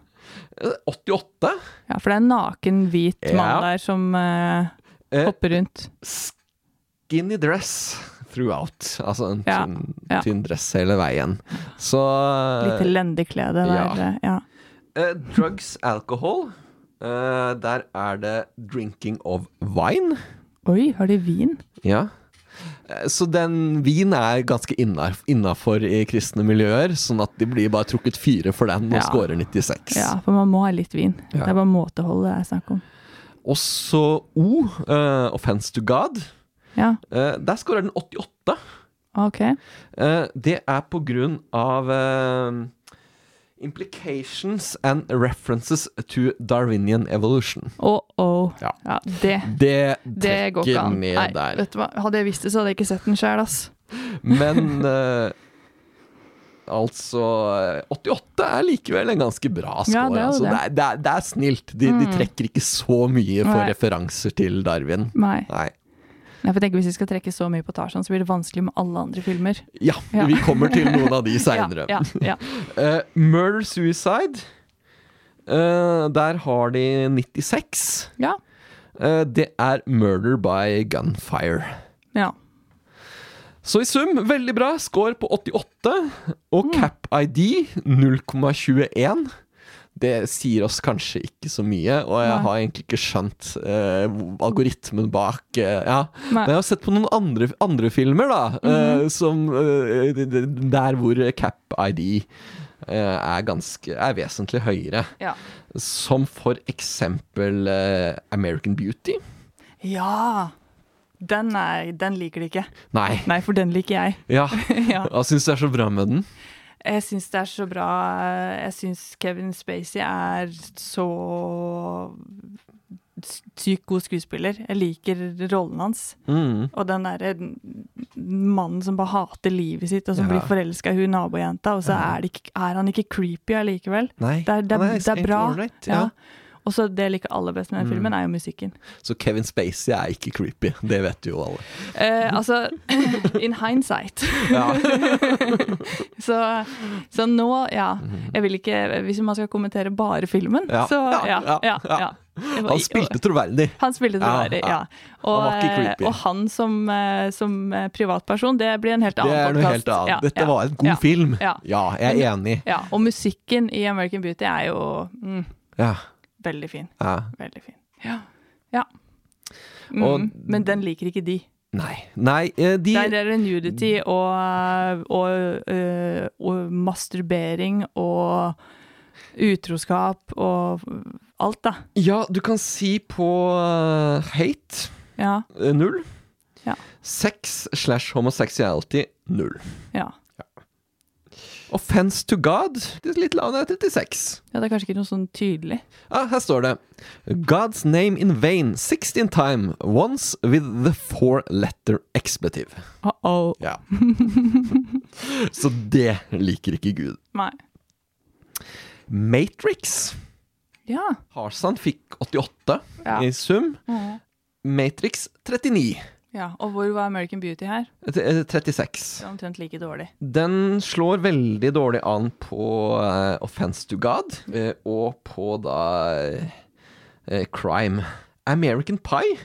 Speaker 1: Eh, 88.
Speaker 4: ja, for det er en naken, hvit
Speaker 1: Ja.
Speaker 4: mann der som eh,
Speaker 1: Eh,
Speaker 4: hopper rundt.
Speaker 1: skinny dress throughout. Altså en
Speaker 4: Ja,
Speaker 1: tynn,
Speaker 4: ja.
Speaker 1: tynn dress hele veien. Så
Speaker 4: Lite lendeklede
Speaker 1: eh, ja.
Speaker 4: der. eh, Ja.
Speaker 1: eh, Drugs, alcohol. Eh, der er det drinking of wine.
Speaker 4: Oi, har de vin?
Speaker 1: Ja. Eh, Så den vin er ganske innafor i kristne miljøer, sånn at de blir bare trukket fire for den og
Speaker 4: Ja.
Speaker 1: scorer 96.
Speaker 4: Ja, for man må ha litt vin.
Speaker 1: Ja.
Speaker 4: Det er bare måtehold det er snakk om.
Speaker 1: Og så O, eh, offense to God.
Speaker 4: Ja,
Speaker 1: Eh, der scorer den 88.
Speaker 4: ok.
Speaker 1: Eh, det er på grunn av eh, implications and references to Darwinian evolution.
Speaker 4: Å-å.
Speaker 1: Ja.
Speaker 4: Ja, det,
Speaker 1: Det
Speaker 4: det går ikke
Speaker 1: trekker
Speaker 4: an.
Speaker 1: ned
Speaker 4: Nei,
Speaker 1: der.
Speaker 4: vet du hva? Hadde jeg visst det, så hadde jeg ikke sett den sjøl, ass.
Speaker 1: Men eh, altså eh, 88 er likevel en ganske bra score.
Speaker 4: Ja, det er jo
Speaker 1: altså.
Speaker 4: det. Mm.
Speaker 1: det, er, det, er, det er snilt. De, de trekker ikke så mye for
Speaker 4: Nei.
Speaker 1: referanser til Darwin.
Speaker 4: Nei.
Speaker 1: Nei.
Speaker 4: Nei, for jeg tenker Hvis vi skal trekke så mye på Tarzan, så blir det vanskelig med alle andre filmer.
Speaker 1: Ja,
Speaker 4: Ja.
Speaker 1: vi kommer til noen av de seinere.
Speaker 4: Ja, ja, ja.
Speaker 1: Eh, Murder Suicide. eh, der har de 96.
Speaker 4: ja.
Speaker 1: Eh, Det er Murder by Gunfire.
Speaker 4: ja.
Speaker 1: Så i sum, veldig bra. Score på 88. Og
Speaker 4: Mm.
Speaker 1: cap ID 0,21. Det sier oss kanskje ikke så mye, og jeg
Speaker 4: Nei.
Speaker 1: har egentlig ikke skjønt eh, hvor- algoritmen bak eh, ja.
Speaker 4: Nei. Mm.
Speaker 1: Men jeg har sett på noen andre, andre filmer, da, eh, som, eh, d- d- der hvor cap ID eh, er, ganske, er vesentlig høyere.
Speaker 4: Ja.
Speaker 1: Som for eksempel eh, American Beauty.
Speaker 4: ja. Den, er, den liker de ikke.
Speaker 1: Nei.
Speaker 4: Nei, for den liker jeg.
Speaker 1: Ja.
Speaker 4: Ja.
Speaker 1: Hva syns du er så bra med den?
Speaker 4: Jeg syns det er så bra. Jeg syns Kevin Spacey er så sykt god skuespiller. Jeg liker rollen hans.
Speaker 1: Mm.
Speaker 4: Og den derre mannen som bare hater livet sitt, og som
Speaker 1: Ja.
Speaker 4: blir forelska i hun nabojenta, og så er, det ikke, er han ikke creepy allikevel.
Speaker 1: Nei,
Speaker 4: Det er, det
Speaker 1: han
Speaker 4: er,
Speaker 1: er
Speaker 4: det er
Speaker 1: egentlig
Speaker 4: bra.
Speaker 1: ålreit,
Speaker 4: ja.
Speaker 1: ja. Mm.
Speaker 4: Og så det jeg liker aller best med den filmen, er jo musikken.
Speaker 1: Så Kevin Spacey er ikke creepy, det vet jo alle.
Speaker 4: Eh, altså, in hindsight. så, så nå, ja. Jeg vil ikke Hvis man skal kommentere bare filmen,
Speaker 1: Mm. Ja.
Speaker 4: så
Speaker 1: Ja,
Speaker 4: ja.
Speaker 1: ja,
Speaker 4: ja,
Speaker 1: ja.
Speaker 4: ja. Jeg var-
Speaker 1: Han spilte troverdig.
Speaker 4: Han spilte det
Speaker 1: Ja,
Speaker 4: verre,
Speaker 1: ja.
Speaker 4: ja. Og,
Speaker 1: Han var ikke
Speaker 4: eh,
Speaker 1: creepy.
Speaker 4: og han som, eh, som eh, privatperson, det blir en helt
Speaker 1: Det
Speaker 4: annen
Speaker 1: er
Speaker 4: podkast.
Speaker 1: noe helt annet. Dette var en god
Speaker 4: ja,
Speaker 1: film.
Speaker 4: Ja,
Speaker 1: Ja, jeg er enig.
Speaker 4: ja. Og musikken i American Beauty er jo mm,
Speaker 1: Ja,
Speaker 4: veldig fin.
Speaker 1: ja.
Speaker 4: Veldig fin. Ja. ja. Mm,
Speaker 1: Og-
Speaker 4: men den liker ikke de.
Speaker 1: Nei. Nei, eh, de
Speaker 4: Der er det nudity og, og, øh, og masturbering og utroskap og alt, da.
Speaker 1: Ja, du kan si på eh, hate
Speaker 4: Ja.
Speaker 1: eh, null.
Speaker 4: Ja.
Speaker 1: Sex slash homosexuality null.
Speaker 4: Ja,
Speaker 1: Offense to God det er litt lavere, 36.
Speaker 4: ja det er kanskje ikke noe sånn tydelig.
Speaker 1: Ja, Ah, her står det God's name in vain, 16 time, once with the four letter expletive.
Speaker 4: Uh -oh.
Speaker 1: Ja. Så det liker ikke Gud.
Speaker 4: Nei.
Speaker 1: Matrix.
Speaker 4: Ja.
Speaker 1: Harsan fikk 88
Speaker 4: Ja.
Speaker 1: i sum. Matrix 39.
Speaker 4: Ja, Og hvor var American Beauty her?
Speaker 1: Eh, t- eh, 36.
Speaker 4: Det var omtrent like dårlig.
Speaker 1: Den slår veldig dårlig an på eh, Offense to God eh, og på da eh, Crime. American Pie?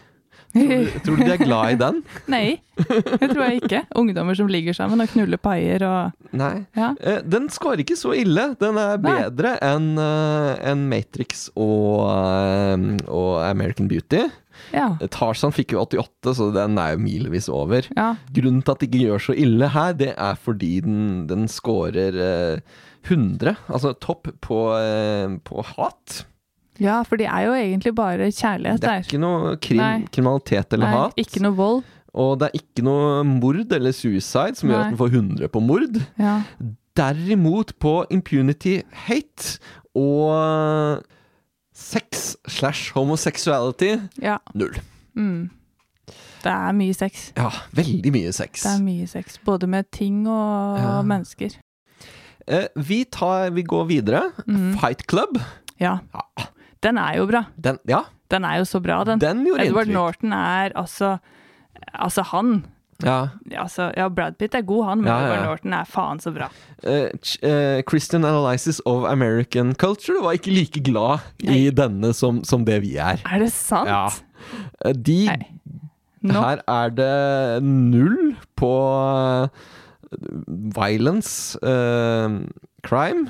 Speaker 1: Tror du, tror du de er glad i den?
Speaker 4: Nei, det tror jeg ikke. Ungdommer som ligger sammen og knuller paier og
Speaker 1: Nei.
Speaker 4: Ja.
Speaker 1: Eh, Den scorer ikke så ille. Den er
Speaker 4: Nei.
Speaker 1: bedre enn eh, enn Matrix og, eh, og American Beauty.
Speaker 4: Ja.
Speaker 1: Tarzan fikk jo 88, så den er jo milevis over.
Speaker 4: ja.
Speaker 1: Grunnen til at det ikke gjør så ille her, det er fordi den, den scorer eh, 100, altså topp på, eh, på hat.
Speaker 4: Ja, for de er jo egentlig bare kjærlighet
Speaker 1: Det er
Speaker 4: der.
Speaker 1: ikke noe krim,
Speaker 4: Nei.
Speaker 1: kriminalitet eller
Speaker 4: Nei,
Speaker 1: hat.
Speaker 4: ikke noe vold.
Speaker 1: Og det er ikke noe mord eller suicide som gjør
Speaker 4: Nei.
Speaker 1: at den får 100 på mord.
Speaker 4: Ja.
Speaker 1: Derimot på impunity, hate og sex slash homoseksuality
Speaker 4: ja.
Speaker 1: null.
Speaker 4: Mm. Det er mye sex.
Speaker 1: Ja, veldig mye sex.
Speaker 4: Det er mye sex, både med ting og
Speaker 1: Ja.
Speaker 4: mennesker.
Speaker 1: Eh, vi, tar, vi går videre.
Speaker 4: Mm.
Speaker 1: Fight Club.
Speaker 4: Ja.
Speaker 1: Ja.
Speaker 4: Den er jo bra.
Speaker 1: Den, ja,
Speaker 4: Den er jo så bra, den.
Speaker 1: den gjorde
Speaker 4: Edward
Speaker 1: inntrykk.
Speaker 4: Norton er altså Altså, han
Speaker 1: Ja.
Speaker 4: altså, Ja, Brad Pitt er god, han, men
Speaker 1: Ja, ja, ja.
Speaker 4: Edward Norton er faen så bra.
Speaker 1: Eh, ch- eh, Christian Analysis of American Culture var ikke like glad i
Speaker 4: Nei.
Speaker 1: denne som, som det vi er.
Speaker 4: Er det sant?
Speaker 1: Ja. Eh, De
Speaker 4: Nei. Nå
Speaker 1: Her er det null på eh, violence, eh, crime.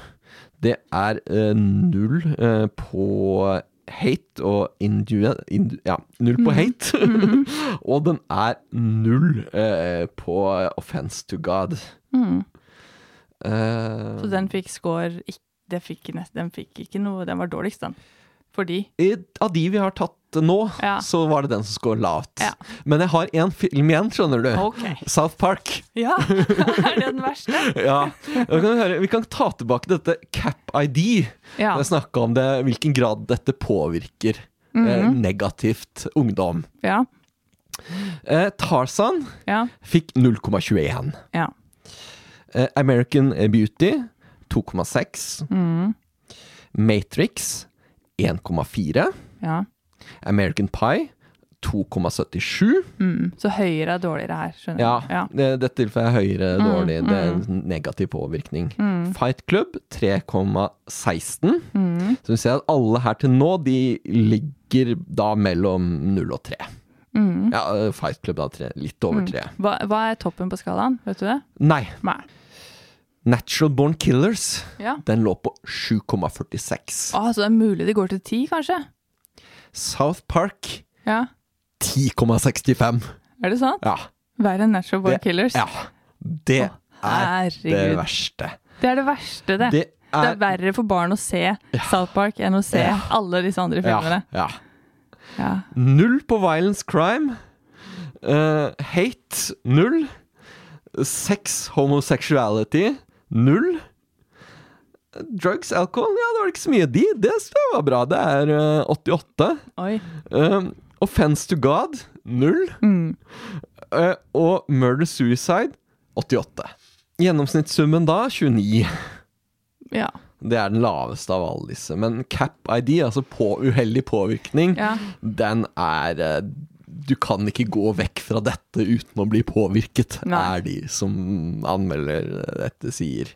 Speaker 1: Det er eh, null eh, på hate og indue... indu- ja, null
Speaker 4: Mhm.
Speaker 1: på hate. og den er null eh, på offense to God.
Speaker 4: Mm.
Speaker 1: Eh,
Speaker 4: Så den fikk score ikk- det fikk, nest- Den fikk ikke noe Den var dårligst, den. Fordi
Speaker 1: i, av de vi har tatt nå,
Speaker 4: Ja.
Speaker 1: så var det den som scoret lavt.
Speaker 4: Ja.
Speaker 1: Men jeg har én film igjen, skjønner du.
Speaker 4: OK.
Speaker 1: South Park.
Speaker 4: Ja! er det den verste?
Speaker 1: Ja, og vi kan, høre, vi kan ta tilbake dette CAP-ID.
Speaker 4: Ja.
Speaker 1: Jeg snakka om det, hvilken grad dette påvirker eh, negativt ungdom.
Speaker 4: Ja.
Speaker 1: Eh, Tarzan
Speaker 4: Ja.
Speaker 1: fikk 0,21.
Speaker 4: ja.
Speaker 1: Eh, American Beauty 2,6. Matrix 1,4.
Speaker 4: ja.
Speaker 1: American Pie 2,77.
Speaker 4: Mm. Så høyere er dårligere her, skjønner
Speaker 1: Ja,
Speaker 4: du. Ja. Mm,
Speaker 1: det- dette tilfellet er høyere dårlig. Det er en negativ påvirkning. Fight Club 3,16.
Speaker 4: Mm.
Speaker 1: Så vi ser at alle her til nå, de ligger da mellom 0 og 3.
Speaker 4: Mm.
Speaker 1: Ja, eh, Fight Club da tre, litt over 3.
Speaker 4: Hva, hva er toppen på skalaen? Vet du det?
Speaker 1: Nei,
Speaker 4: Nei.
Speaker 1: Natural Born Killers,
Speaker 4: Ja.
Speaker 1: den lå på 7,46.
Speaker 4: Ah, så det er mulig det går til ti, kanskje?
Speaker 1: South Park
Speaker 4: Ja.
Speaker 1: 10,65.
Speaker 4: Er det sant?
Speaker 1: Ja,
Speaker 4: Verre enn Natural Born
Speaker 1: Det-
Speaker 4: Killers?
Speaker 1: ja. Det
Speaker 4: Å,
Speaker 1: er det
Speaker 4: Herregud.
Speaker 1: verste.
Speaker 4: Det er det verste, det.
Speaker 1: Det
Speaker 4: Det
Speaker 1: er
Speaker 4: er verre for barn å se South Park enn å se
Speaker 1: Ja.
Speaker 4: alle disse andre filmene.
Speaker 1: ja, ja.
Speaker 4: Ja.
Speaker 1: Null på violence crime. Eh, hate null. Sex homosexuality null. Drugs, alkohol Ja, det var ikke så mye de. Det synes jeg var bra. Det er eh, 88.
Speaker 4: Oi.
Speaker 1: Eh, offense to God null. Eh, og murder suicide 88. Gjennomsnittssummen da 29.
Speaker 4: Ja.
Speaker 1: Det er den laveste av alle disse. Men cap-ID, altså på uheldig påvirkning,
Speaker 4: Ja.
Speaker 1: den er eh, Du kan ikke gå vekk fra dette uten å bli påvirket,
Speaker 4: Nei.
Speaker 1: er de som anmelder eh, dette, sier.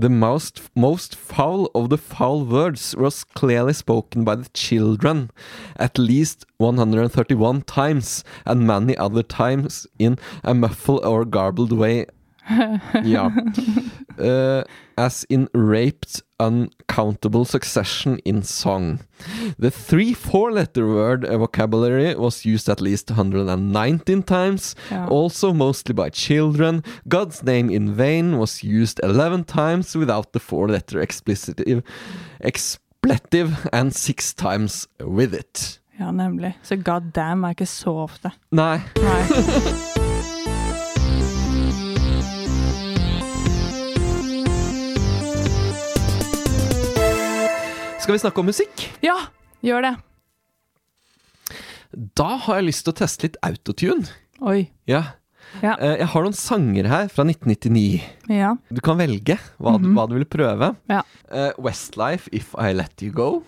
Speaker 1: The most, most foul of the foul words was clearly spoken by the children at least 131 times and many other times in a muffled or garbled way. Ja. Eh, as in raped uncountable succession in song. The three four letter word eh, vocabulary was used at least 119 times,
Speaker 4: Ja.
Speaker 1: also mostly by children. God's name in vain was used 11 times without the four letter explicative, expletive and six times with it.
Speaker 4: ja, nemlig. Så god damn er ikke så ofte.
Speaker 1: Nei.
Speaker 4: Nei.
Speaker 1: Skal vi snakke om musikk?
Speaker 4: Ja, gjør det.
Speaker 1: Da har jeg lyst til å teste litt autotune.
Speaker 4: Oi.
Speaker 1: Ja.
Speaker 4: Ja.
Speaker 1: Eh, Jeg har noen sanger her fra 1999.
Speaker 4: Ja.
Speaker 1: Du kan velge hva, du- hva du vil prøve.
Speaker 4: Mhm. Ja. Mhm.
Speaker 1: Eh, Westlife, If I Let You Go.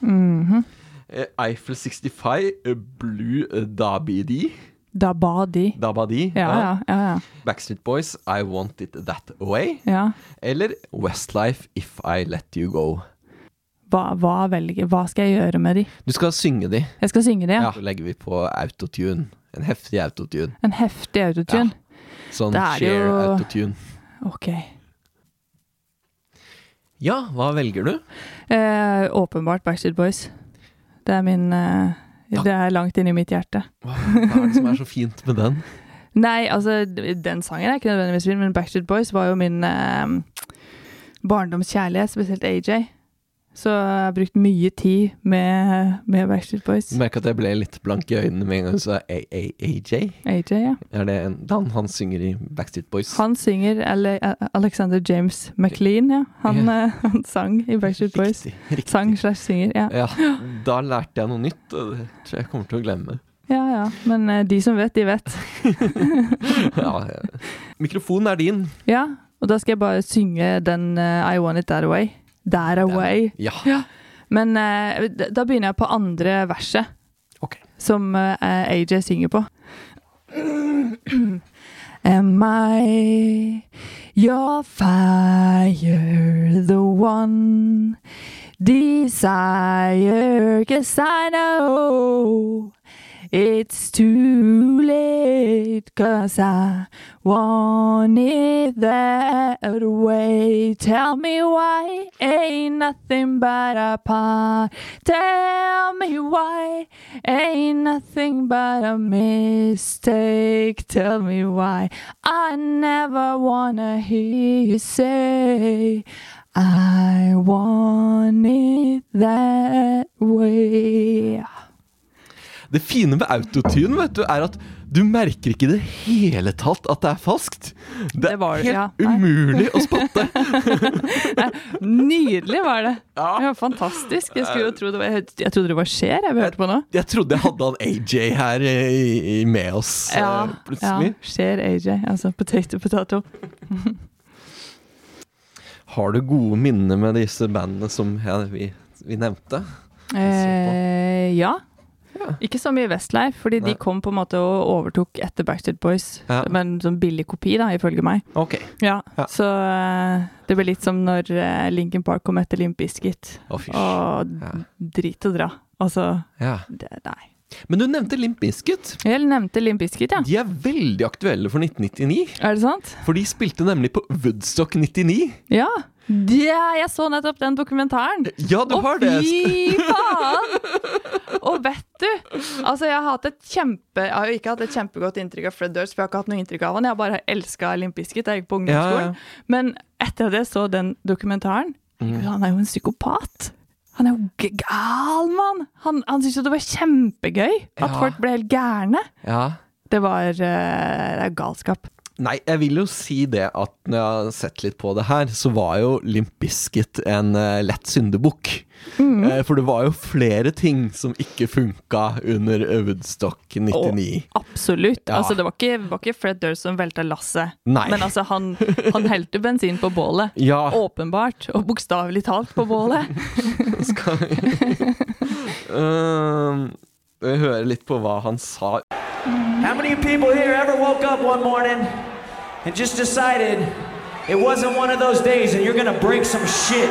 Speaker 1: eh, Eiffel 65 eh, Blue Dabidi.
Speaker 4: Dabadi.
Speaker 1: Dabadi.
Speaker 4: Ja, ja, ja. ja.
Speaker 1: Backstreet Boys I Want It That Way.
Speaker 4: ja.
Speaker 1: Eller Westlife If I Let You Go.
Speaker 4: Hva, hva velger Hva skal jeg gjøre med de?
Speaker 1: Du skal synge de.
Speaker 4: Jeg skal synge de, ja.
Speaker 1: Ja. Så legger vi på autotune. En heftig autotune.
Speaker 4: En heftig autotune.
Speaker 1: Sånn
Speaker 4: Det er jo-
Speaker 1: share autotune.
Speaker 4: Ok.
Speaker 1: Ja, hva velger du?
Speaker 4: Eh, åpenbart Backstreet Boys. Det er min eh, Det er langt inni mitt hjerte.
Speaker 1: Hva er det som er så fint med den?
Speaker 4: Nei, altså, d- den sangen er ikke nødvendigvis min, men Backstreet Boys var jo min eh, barndomskjærlighet, spesielt AJ. Så jeg har brukt mye tid med, med Backstreet Boys.
Speaker 1: Du merker at jeg ble litt blank i øynene med en gang du sa AAAJ.
Speaker 4: AJ, ja.
Speaker 1: Er det en Dan han synger i Backstreet Boys?
Speaker 4: Han synger Ale Alexander James McLean, ja. Han, eh, han sang i Backstreet Boys.
Speaker 1: Riktig. riktig.
Speaker 4: Sang slash synger, ja.
Speaker 1: Ja, da lærte jeg noe nytt, og det tror jeg jeg kommer til å glemme.
Speaker 4: Ja, ja. Men eh, de som vet, de vet.
Speaker 1: Ja, ja. Mikrofonen er din.
Speaker 4: Ja, og da skal jeg bare synge den eh, I Want It That Way. That Away.
Speaker 1: Ja.
Speaker 4: Men eh, d- da begynner jeg på andre verset.
Speaker 1: Ok.
Speaker 4: Som eh, AJ synger på. Am I your fire, the one desire? Cause I know it's too late, cause I want it that way. Tell me why ain't nothing but a part. Tell me why ain't nothing but a mistake. Tell me why I never wanna hear you say. I want it that way.
Speaker 1: Det fine med autotune vet du, er at du merker ikke i det hele tatt at det er falskt. Det
Speaker 4: Det
Speaker 1: er
Speaker 4: var det,
Speaker 1: helt
Speaker 4: ja. Nei.
Speaker 1: umulig å spotte.
Speaker 4: Nydelig var det.
Speaker 1: Ja. Eh,
Speaker 4: Det var fantastisk. Jeg, skulle jo tro det var, jeg, jeg trodde det var skjer jeg vi hørte på nå.
Speaker 1: Jeg trodde jeg hadde han AJ her eh, i- i- med oss eh, plutselig.
Speaker 4: ja. Skjer AJ. Altså potato, potato.
Speaker 1: Har du gode minner med disse bandene som ja, vi, vi nevnte?
Speaker 4: Eh, ja.
Speaker 1: Ja.
Speaker 4: Ikke så mye Westlife, fordi
Speaker 1: Nei.
Speaker 4: de kom på en måte og overtok etter Backstreet Boys.
Speaker 1: Ja.
Speaker 4: Men sånn billig kopi, da, ifølge meg.
Speaker 1: Ok.
Speaker 4: Ja.
Speaker 1: Ja.
Speaker 4: Så eh, det ble litt som når eh, Linkin Park kom etter Limp Bizkit.
Speaker 1: Å, fysj.
Speaker 4: Og
Speaker 1: Ja.
Speaker 4: drit og dra. Altså,
Speaker 1: Ja.
Speaker 4: det, nei.
Speaker 1: Men du nevnte Limp Bizkit.
Speaker 4: Jeg nevnte Limp Bizkit, ja.
Speaker 1: De er veldig aktuelle for 1999,
Speaker 4: Er det sant?
Speaker 1: for de spilte nemlig på Woodstock 99.
Speaker 4: Ja. Det, jeg så nettopp den dokumentaren.
Speaker 1: Ja, du
Speaker 4: Å,
Speaker 1: har det!
Speaker 4: fy faen! Og vet du, altså jeg har hatt et kjempe Jeg har jo ikke hatt et kjempegodt inntrykk av Fred Durst, for jeg har ikke hatt noe inntrykk av han. Jeg har bare elska Limp Bizkit, jeg gikk på
Speaker 1: Ja,
Speaker 4: ungdomsskolen.
Speaker 1: ja.
Speaker 4: Men etter at jeg så den dokumentaren
Speaker 1: Mm.
Speaker 4: Gud, Han er jo en psykopat! Han er jo g- gal, mann! Han, han syntes jo det var kjempegøy at
Speaker 1: Ja.
Speaker 4: folk ble helt gærne.
Speaker 1: Ja.
Speaker 4: Det var eh, det er galskap.
Speaker 1: Nei, jeg vil jo si det at når jeg har sett litt på det her, så var jo Limp Bizkit en eh, lett syndebukk.
Speaker 4: Mm.
Speaker 1: Eh, for det var jo flere ting som ikke funka under Woodstock 99.
Speaker 4: Absolutt.
Speaker 1: Ja.
Speaker 4: Altså, det var ikke, var ikke Fred Durst som velta lasset.
Speaker 1: Nei.
Speaker 4: Men altså, han, han helte bensin på bålet.
Speaker 1: Ja,
Speaker 4: Åpenbart, og bokstavelig talt på bålet.
Speaker 1: skal vi Ehm, vi hører litt på hva han sa.
Speaker 7: How many people here ever woke up one morning and just decided it wasn't one of those days and you're gonna break some shit?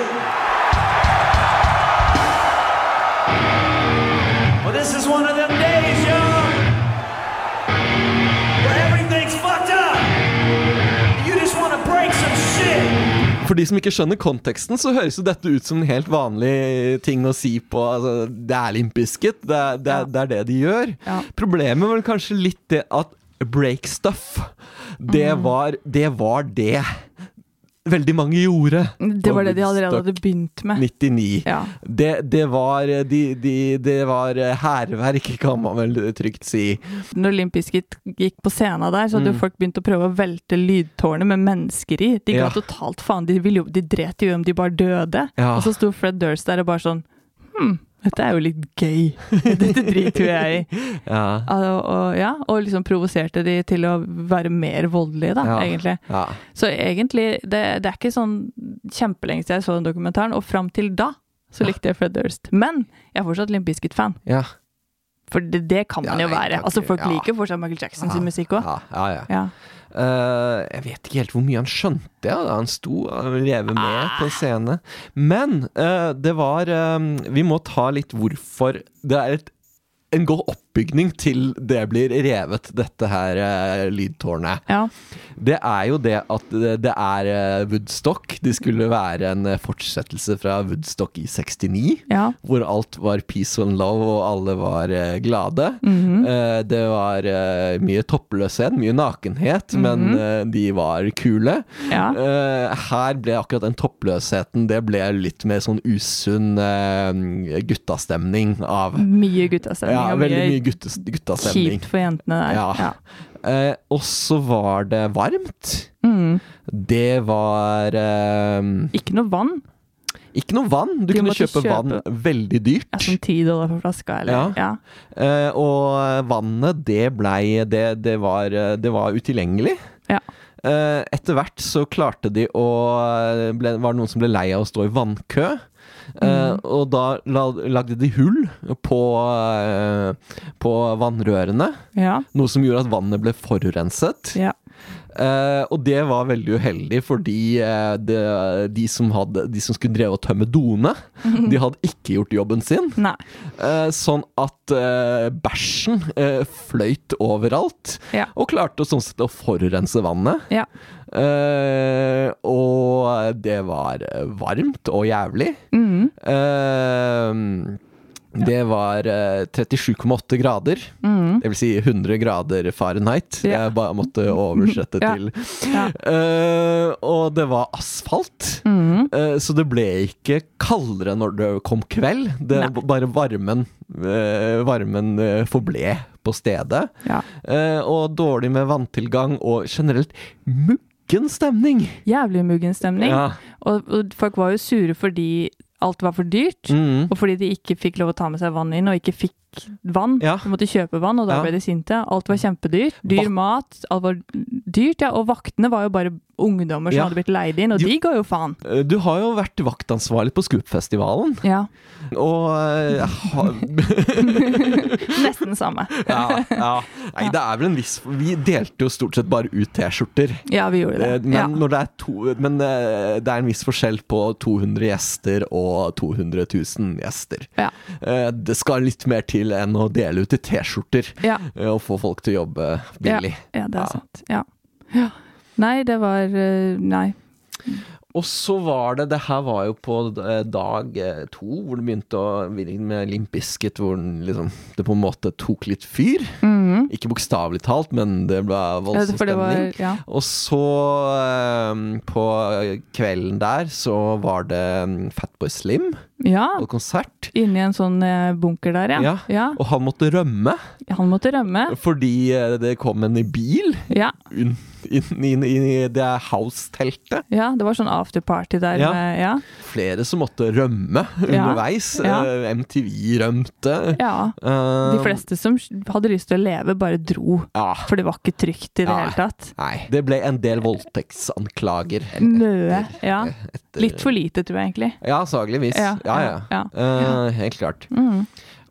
Speaker 7: Well, this is one of them days, y'all, where everything's fucked up. You just wanna break some shit.
Speaker 1: For de som ikke skjønner konteksten, så høres jo dette ut som en helt vanlig ting å si på altså, Det er Limp Bizkit, det, er- det, er- det er det de gjør.
Speaker 4: Ja.
Speaker 1: Problemet var kanskje litt det at break stuff,
Speaker 4: Mm.
Speaker 1: det var det. Var det. Veldig mange gjorde.
Speaker 4: Det var det de allerede
Speaker 1: Woodstock
Speaker 4: hadde begynt med.
Speaker 1: 99.
Speaker 4: Ja.
Speaker 1: Det, det var de, de, Det var hærverk, kan man vel trygt si.
Speaker 4: Når Limp Bizkit gikk på scenen der, så hadde
Speaker 1: Mm.
Speaker 4: jo folk begynt å prøve å velte lydtårnet med mennesker i. De ga
Speaker 1: Ja.
Speaker 4: totalt faen. De, ville jo, de dret jo i om de bare døde.
Speaker 1: Ja.
Speaker 4: Og så sto Fred Durst der og bare sånn Hm, dette er jo litt gøy. Dette driter jo jeg i.
Speaker 1: Ja.
Speaker 4: Altså, og, ja, og liksom provoserte de til å være mer voldelige, da,
Speaker 1: Ja.
Speaker 4: egentlig.
Speaker 1: ja.
Speaker 4: Så egentlig, det, det er ikke sånn kjempelenge siden jeg så den dokumentaren, og fram til da så likte jeg Fred Durst. Men jeg er fortsatt Limp Bizkit-fan.
Speaker 1: Ja.
Speaker 4: For det, det kan man
Speaker 1: Ja,
Speaker 4: jo
Speaker 1: nei,
Speaker 4: være.
Speaker 1: takk,
Speaker 4: Altså, folk
Speaker 1: ja.
Speaker 4: liker fortsatt Michael Jackson sin musikk òg.
Speaker 1: Ja, ja, ja.
Speaker 4: Ja.
Speaker 1: Eh, jeg vet ikke helt hvor mye han skjønte ja, da han sto og rev med på en scene. Men eh, det var eh, Vi må ta litt hvorfor det er et, en god oppbygning til det blir revet, dette her eh, lydtårnet.
Speaker 4: ja.
Speaker 1: Det er jo det at det, det er eh, Woodstock. Det skulle være en eh, fortsettelse fra Woodstock i 69
Speaker 4: ja.
Speaker 1: hvor alt var peace and love, og alle var eh, glade.
Speaker 4: Mhm.
Speaker 1: Eh, det var eh, mye toppløshet, mye nakenhet, men eh, de var kule.
Speaker 4: Mhm. Ja.
Speaker 1: Eh, her ble akkurat den toppløsheten Det ble litt mer sånn usunn eh, guttastemning av.
Speaker 4: Mye guttastemning.
Speaker 1: Ja,
Speaker 4: og
Speaker 1: veldig mye guttes, guttastemning.
Speaker 4: kjipt for jentene der.
Speaker 1: Ja.
Speaker 4: Ja.
Speaker 1: Eh, og så var det varmt.
Speaker 4: Mm.
Speaker 1: Det var eh,
Speaker 4: Ikke noe vann.
Speaker 1: ikke noe vann. Du
Speaker 4: De
Speaker 1: kunne
Speaker 4: måtte
Speaker 1: kjøpe, vann
Speaker 4: kjøpe-
Speaker 1: veldig dyrt.
Speaker 4: Ja, sånn ti dollar for flaska, eller?
Speaker 1: Ja.
Speaker 4: Ja.
Speaker 1: Eh, og vannet, det blei Det, det, var, eh, det var utilgjengelig.
Speaker 4: Ja.
Speaker 1: Eh, etter hvert så klarte de å eh, ble, Var det noen som ble lei av å stå i vannkø? Eh, og da la, lagde de hull på, eh, på vannrørene.
Speaker 4: Ja.
Speaker 1: Noe som gjorde at vannet ble forurenset.
Speaker 4: ja.
Speaker 1: Eh, og det var veldig uheldig, fordi eh, det, de, som hadde, de som skulle dreve og tømme doene, de hadde ikke gjort jobben sin.
Speaker 4: Nei.
Speaker 1: Eh, sånn at eh, bæsjen eh, fløyt overalt,
Speaker 4: Ja.
Speaker 1: og klarte sånn sett å forurense vannet.
Speaker 4: Ja.
Speaker 1: Eh, og det var eh, varmt og jævlig.
Speaker 4: Mhm.
Speaker 1: Eh, det var eh, 37,8 grader, det vil si 100 grader Fahrenheit.
Speaker 4: Mhm. Ja.
Speaker 1: Jeg bare måtte oversette
Speaker 4: Ja.
Speaker 1: til
Speaker 4: Ja.
Speaker 1: Eh, og det var asfalt,
Speaker 4: Mhm.
Speaker 1: eh, så det ble ikke kaldere når det kom kveld. Det,
Speaker 4: Nei.
Speaker 1: b- bare varmen, eh, varmen eh, forble på stedet.
Speaker 4: Ja.
Speaker 1: Eh, og dårlig med vanntilgang og generelt muggen stemning.
Speaker 4: Jævlig muggen stemning.
Speaker 1: Ja.
Speaker 4: Og, og folk var jo sure fordi alt var for dyrt,
Speaker 1: Mm.
Speaker 4: og fordi de ikke fikk lov å ta med seg vann inn, og ikke fikk vann.
Speaker 1: Ja.
Speaker 4: De måtte kjøpe vann, og da
Speaker 1: Ja. Mm.
Speaker 4: ble de sinte. Alt var kjempedyrt. Dyr
Speaker 1: Vak-
Speaker 4: mat, alt var dyrt, ja. Og vaktene var jo bare ungdommer som
Speaker 1: Ja.
Speaker 4: hadde blitt leid inn, og
Speaker 1: Jo.
Speaker 4: de ga jo faen.
Speaker 1: Eh, Du har jo vært vaktansvarlig på Scoop-festivalen,
Speaker 4: Ja.
Speaker 1: og eh, ha,
Speaker 4: Nesten det samme.
Speaker 1: ja, ja. Nei, det er vel en viss Vi delte jo stort sett bare ut T-skjorter.
Speaker 4: Ja, vi gjorde
Speaker 1: Eh,
Speaker 4: det.
Speaker 1: Men,
Speaker 4: ja.
Speaker 1: når det er to, men eh, det er en viss forskjell på 200 gjester og 200 000 gjester.
Speaker 4: Ja.
Speaker 1: Eh, Det skal litt mer til enn å dele ut i T-skjorter
Speaker 4: Ja.
Speaker 1: eh, og få folk til å jobbe billig.
Speaker 4: Ja, ja det er
Speaker 1: Ja.
Speaker 4: sant. Ja. ja. Nei, det var eh, Nei.
Speaker 1: Og så var det Det her var jo på eh, dag eh, to, hvor det begynte å virke med Limp Bizkit, hvor den liksom, det på en måte tok litt fyr. Ikke bokstavelig talt, men det ble
Speaker 4: Mhm. Ja,
Speaker 1: voldsom
Speaker 4: for det var
Speaker 1: stemning.
Speaker 4: Ja.
Speaker 1: Og så eh, på kvelden der så var det eh, Fatboy Slim
Speaker 4: ja.
Speaker 1: på konsert.
Speaker 4: Inni en sånn eh, bunker der, ja.
Speaker 1: Ja. Og han måtte rømme
Speaker 4: Han måtte rømme.
Speaker 1: fordi eh, det kom en bil
Speaker 4: Ja.
Speaker 1: inn, inn, inn, inn i det house-teltet.
Speaker 4: ja. Det var sånn afterparty der.
Speaker 1: Ja.
Speaker 4: Med, ja.
Speaker 1: Flere som måtte rømme
Speaker 4: Ja.
Speaker 1: underveis.
Speaker 4: Ja.
Speaker 1: Eh, MTV rømte.
Speaker 4: ja.
Speaker 1: Eh,
Speaker 4: De fleste som hadde lyst til å leve, bare dro.
Speaker 1: Ja.
Speaker 4: For det var ikke trygt i det
Speaker 1: Nei.
Speaker 4: hele tatt.
Speaker 1: Nei. Det ble en del voldtektsanklager.
Speaker 4: Møe. Ja.
Speaker 1: etter-
Speaker 4: Litt for lite, tror jeg egentlig.
Speaker 1: Ja, antageligvis. Ja,
Speaker 4: Ja,
Speaker 1: ja.
Speaker 4: ja, Mm.
Speaker 1: Eh, helt klart.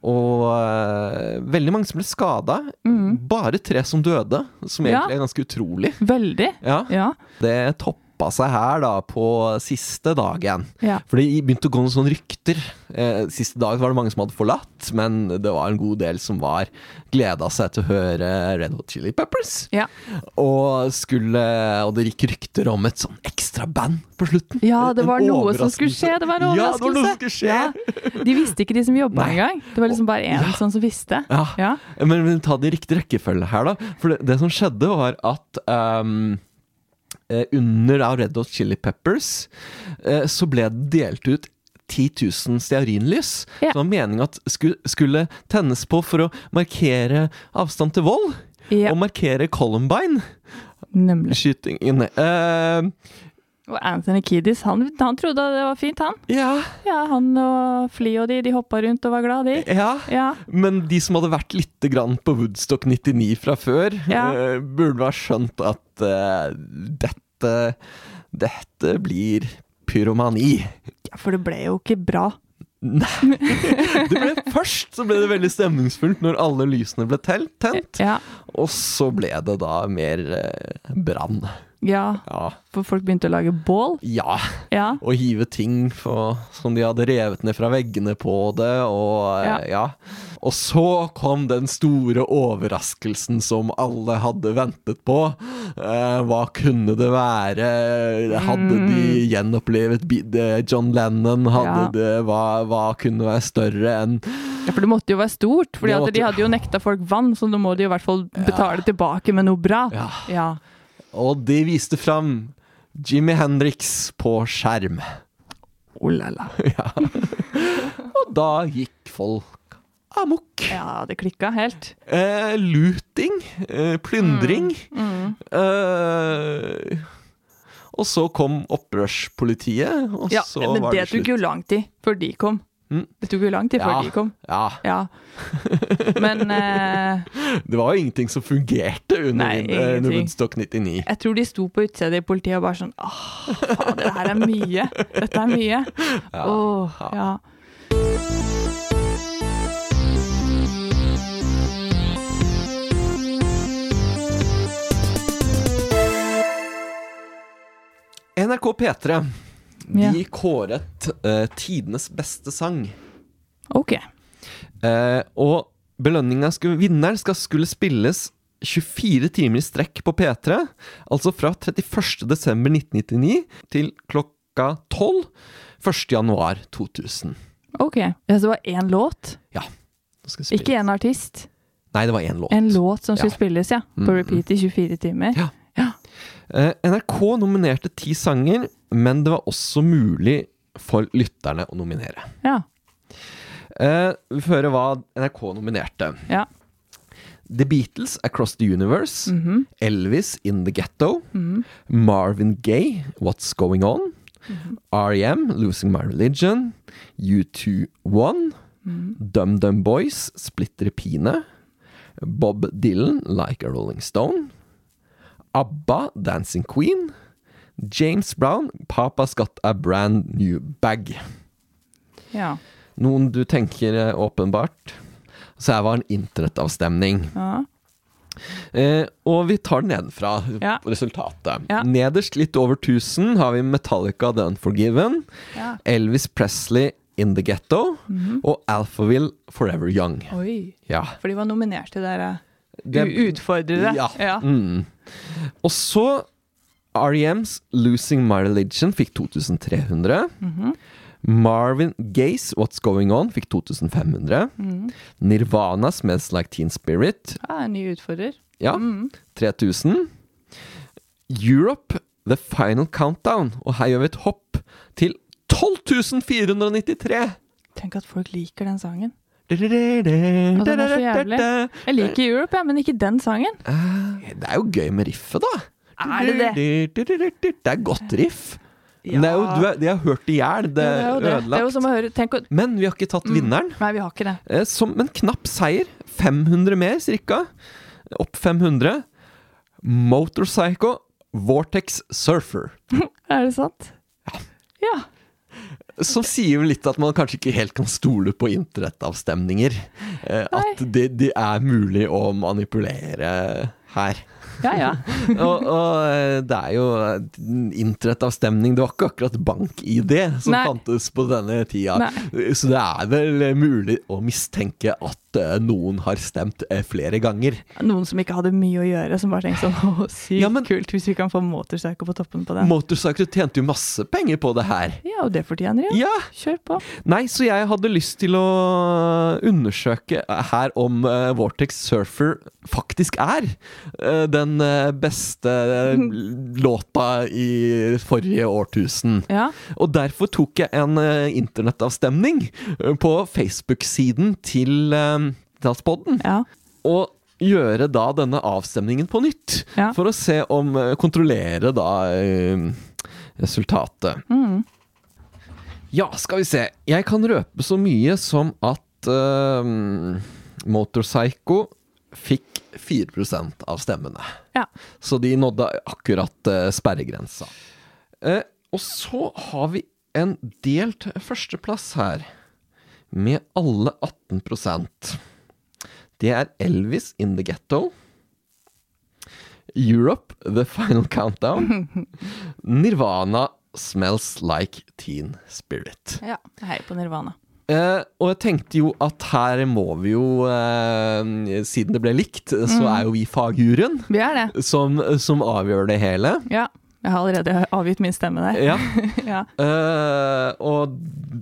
Speaker 1: Og eh, veldig mange som ble skada. Bare tre som døde, som
Speaker 4: Mm. Ja.
Speaker 1: egentlig er ganske utrolig.
Speaker 4: Veldig.
Speaker 1: Ja.
Speaker 4: Ja.
Speaker 1: Det toppa seg her da på siste dagen.
Speaker 4: Ja.
Speaker 1: For det begynte å gå noen sånne rykter. Eh, siste dag var det mange som hadde forlatt, men det var en god del som var gleda seg til å høre Red Hot Chili Peppers.
Speaker 4: Ja.
Speaker 1: Og, skulle, og det gikk rykter om et sånn ekstra band på slutten.
Speaker 4: Ja, det
Speaker 1: En
Speaker 4: var noe som skulle
Speaker 1: overraskelse.
Speaker 4: skje. Det var en
Speaker 1: Ja, det var noe som
Speaker 4: overraskelse.
Speaker 1: skulle skje.
Speaker 4: Ja. De visste ikke, de som jobba
Speaker 1: Nei.
Speaker 4: engang. Det var liksom bare én
Speaker 1: Ja.
Speaker 4: sånn som visste.
Speaker 1: Ja.
Speaker 4: Ja.
Speaker 1: Men, men ta det i riktig rekkefølge her, da. For det, det som skjedde, var at ehm, eh, under da Red Hot Chili Peppers eh, så ble det delt ut 10 000 stearinlys.
Speaker 4: Ja.
Speaker 1: Det var meninga at skulle, skulle tennes på for å markere avstand til vold.
Speaker 4: Ja.
Speaker 1: Og markere Columbine-skytingen. Eh,
Speaker 4: Nemlig. Og Anthony Kiddis, han, han trodde det var fint, han.
Speaker 1: Eh, ja,
Speaker 4: Ja, han og Fli og de, de hoppa rundt og var glad, de.
Speaker 1: ja.
Speaker 4: Ja.
Speaker 1: Men de som hadde vært litt grann på Woodstock 99 fra før,
Speaker 4: Ja.
Speaker 1: eh, burde ha skjønt at eh, dette, dette blir pyromani.
Speaker 4: ja, for det ble jo ikke bra.
Speaker 1: Nei! Det ble, først så ble det veldig stemningsfullt når alle lysene ble tel- tent.
Speaker 4: Ja,
Speaker 1: Og så ble det da mer eh, brann.
Speaker 4: ja,
Speaker 1: Ja.
Speaker 4: for folk begynte å lage bål.
Speaker 1: ja.
Speaker 4: Ja,
Speaker 1: Og hive ting på, som de hadde revet ned fra veggene på det, og ja.
Speaker 4: Ja.
Speaker 1: ja. Og så kom den store overraskelsen som alle hadde ventet på. Eh, hva kunne det være? Hadde de gjenopplevet bi- det John Lennon? Hadde
Speaker 4: Mm. Ja.
Speaker 1: det, hva, hva kunne være større enn
Speaker 4: ja for det måtte jo være stort, for
Speaker 1: Det måtte-
Speaker 4: de hadde jo nekta folk vann, så nå må de i hvert fall betale tilbake med noe bra.
Speaker 1: Ja.
Speaker 4: ja.
Speaker 1: Og de viste fram Jimmy Hendrix på skjerm.
Speaker 4: Oh la la.
Speaker 1: Og da gikk folk amok.
Speaker 4: Ja, det klikka helt.
Speaker 1: Eh, looting, eh, plyndring.
Speaker 4: Mm,
Speaker 1: Eh, og så kom opprørspolitiet, og
Speaker 4: Ja,
Speaker 1: så
Speaker 4: men
Speaker 1: var
Speaker 4: det
Speaker 1: det slutt.
Speaker 4: tok jo lang tid før de kom.
Speaker 1: Mm.
Speaker 4: Det tok jo lang tid før
Speaker 1: Ja.
Speaker 4: de kom.
Speaker 1: Ja,
Speaker 4: Ja. Men eh,
Speaker 1: det var jo ingenting som fungerte under,
Speaker 4: Nei,
Speaker 1: Win- eh, under
Speaker 4: ingenting.
Speaker 1: Woodstock 99.
Speaker 4: jeg tror de sto på utstedet i politiet og bare sånn Åh, faen, det her er mye. Dette er mye. Åh, ja.
Speaker 1: NRK P3 de
Speaker 4: Ja.
Speaker 1: kåret eh, tidenes beste sang.
Speaker 4: OK.
Speaker 1: Eh, og belønninga skulle, vinneren skal, skulle spilles 24 timer i strekk på P3. Altså fra 31.12.1999 til klokka 12. 1.1.2000.
Speaker 4: ok. Ja, så det var én låt, ikke én artist.
Speaker 1: Nei, det var én låt.
Speaker 4: En låt som skulle
Speaker 1: Ja. Mm,
Speaker 4: spilles, ja. På repeat i 24 timer.
Speaker 1: Ja. Eh, NRK nominerte ti sanger, men det var også mulig for lytterne å nominere.
Speaker 4: Ja.
Speaker 1: Eh, vi får høre hva NRK nominerte.
Speaker 4: Ja.
Speaker 1: The Beatles, Across the Universe. Elvis, In the Ghetto. Marvin Gaye, What's Going On. R.E.M., Losing My Religion. U2 One. Dum Dum Boys, Splitter Pine. Bob Dylan, Like a Rolling Stone. ABBA, Dancing Queen. James Brown, Papa's Got a Brand New Bag.
Speaker 4: ja.
Speaker 1: Noen du tenker eh, åpenbart. Så her var en internettavstemning.
Speaker 4: Ja.
Speaker 1: Eh, og vi tar den nedenfra,
Speaker 4: Ja.
Speaker 1: resultatet.
Speaker 4: Ja.
Speaker 1: Nederst, litt over 1000, har vi Metallica The Unforgiven.
Speaker 4: Ja.
Speaker 1: Elvis Presley In The Ghetto.
Speaker 4: Mhm.
Speaker 1: Og Alphaville Forever Young.
Speaker 4: Oi.
Speaker 1: Ja.
Speaker 4: For de var nominert til eh, dere
Speaker 1: Det-
Speaker 4: utfordrere.
Speaker 1: Ja. Mm. Og så R.E.M.s Losing My Religion fikk 2300.
Speaker 4: Mhm.
Speaker 1: Marvin Gays What's Going On fikk 2500.
Speaker 4: Mhm.
Speaker 1: Nirvana Smells Like Teen Spirit
Speaker 4: Ja, en ny utfordrer.
Speaker 1: ja,
Speaker 4: Mm.
Speaker 1: 3000. Europe The Final Countdown. Og her gjør vi et hopp til 12493!
Speaker 4: Tenk at folk liker den sangen.
Speaker 1: Og
Speaker 4: Altså, den er så jævlig. Jeg liker Europe, ja, men ikke den sangen.
Speaker 1: Det er jo gøy med riffet, da.
Speaker 4: Er det det?
Speaker 1: Det er godt riff. Men det er jo, du er, de har hørt det i hjel. Det
Speaker 4: Ja, det er
Speaker 1: er
Speaker 4: jo det. Det er jo
Speaker 1: ødelagt.
Speaker 4: som å Mm. høre Tenk å
Speaker 1: Men vi har ikke tatt vinneren.
Speaker 4: Nei, vi har ikke det.
Speaker 1: Eh, Som en knapp seier. 500 mer, cirka. Opp 500. Motorpsycho Vortex Surfer.
Speaker 4: Er det sant? Ja.
Speaker 1: Som sier vel litt at man kanskje ikke helt kan stole på internettavstemninger. Eh, At det, det er mulig å manipulere her.
Speaker 4: Ja, ja.
Speaker 1: og, og eh, det er jo eh, internettavstemning. Det var ikke akkurat bank-ID som
Speaker 4: Nei.
Speaker 1: fantes på denne tida.
Speaker 4: Nei.
Speaker 1: Så det er vel eh, mulig å mistenke at eh, noen har stemt eh, flere ganger.
Speaker 4: Noen som ikke hadde mye å gjøre, som bare tenkte sånn Å, sykt
Speaker 1: Ja, men-
Speaker 4: kult hvis vi kan få motorcycle på toppen på den.
Speaker 1: Motorcycle tjente jo masse penger på det her.
Speaker 4: Ja, og det fortjener de. jo.
Speaker 1: Ja!
Speaker 4: Kjør på.
Speaker 1: Nei, så jeg hadde lyst til å undersøke her om eh, Vortex Surfer faktisk er eh, den eh, beste eh, låta i forrige årtusen.
Speaker 4: Ja.
Speaker 1: Og derfor tok jeg en eh, internettavstemning eh, på Facebook-siden til uh, Dalspodden.
Speaker 4: ja.
Speaker 1: Og gjøre da denne avstemningen på nytt.
Speaker 4: Ja.
Speaker 1: For å se om eh, Kontrollere da eh, resultatet. Ja, skal vi se. Jeg kan røpe så mye som at eh, Motorpsycho fikk 4 av stemmene.
Speaker 4: Ja.
Speaker 1: Så de nådde akkurat eh, sperregrensa. Eh, og så har vi en delt førsteplass her. med alle 18 Det er Elvis in the Ghetto. Europe, The Final Countdown. Nirvana, Smells Like Teen Spirit.
Speaker 4: Ja, Hei på Nirvana.
Speaker 1: Eh, og jeg tenkte jo at her må vi jo eh, Siden det ble likt, så er jo vi fagjuryen
Speaker 4: Vi er det.
Speaker 1: som, som avgjør det hele.
Speaker 4: Ja. Jeg har allerede avgitt min stemme der.
Speaker 1: Ja.
Speaker 4: Ja.
Speaker 1: Eh, og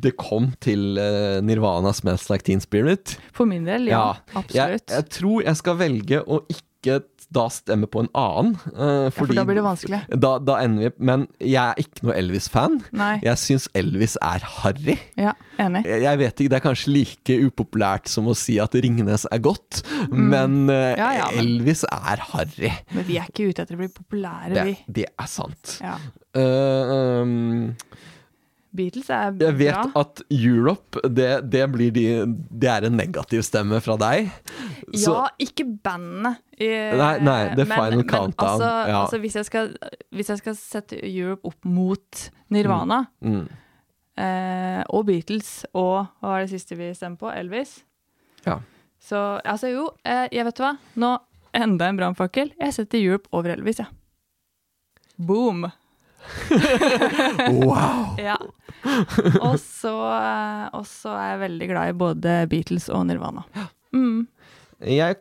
Speaker 1: det kom til eh, Nirvana Smells Like Teen Spirit.
Speaker 4: For min del, ja. Absolutt.
Speaker 1: Jeg, jeg tror jeg skal velge å ikke da stemme på en annen. eh,
Speaker 4: for
Speaker 1: fordi-
Speaker 4: da blir det vanskelig.
Speaker 1: Da, da ender vi Men jeg er ikke noe Elvis-fan.
Speaker 4: Nei.
Speaker 1: Jeg syns Elvis er harry.
Speaker 4: Ja, enig.
Speaker 1: Jeg jeg vet ikke, Det er kanskje like upopulært som å si at Ringnes er godt, men eh,
Speaker 4: Mm. Ja, ja, men-
Speaker 1: Elvis er harry.
Speaker 4: Men vi er ikke ute etter å bli populære,
Speaker 1: Det,
Speaker 4: vi.
Speaker 1: det er sant.
Speaker 4: Ja.
Speaker 1: Eh, um,
Speaker 4: Beatles er bra.
Speaker 1: Jeg vet at Europe, det, det, blir de, det er en negativ stemme fra deg. Så
Speaker 4: Ja, ikke bandene. eh,
Speaker 1: Nei, nei, The Final
Speaker 4: Men
Speaker 1: Countdown,
Speaker 4: altså,
Speaker 1: ja.
Speaker 4: altså hvis, jeg skal, hvis jeg skal sette Europe opp mot Nirvana
Speaker 1: Mm.
Speaker 4: eh, og Beatles og hva var det siste vi stemte på? Elvis.
Speaker 1: Ja.
Speaker 4: Så altså jo, eh, jeg vet du hva. Nå enda en brannfakkel. Jeg setter Europe over Elvis, jeg. Boom.
Speaker 1: wow!
Speaker 4: Ja. Og så, eh, og så er jeg veldig glad i både Beatles og Nirvana. Mm.
Speaker 1: Jeg,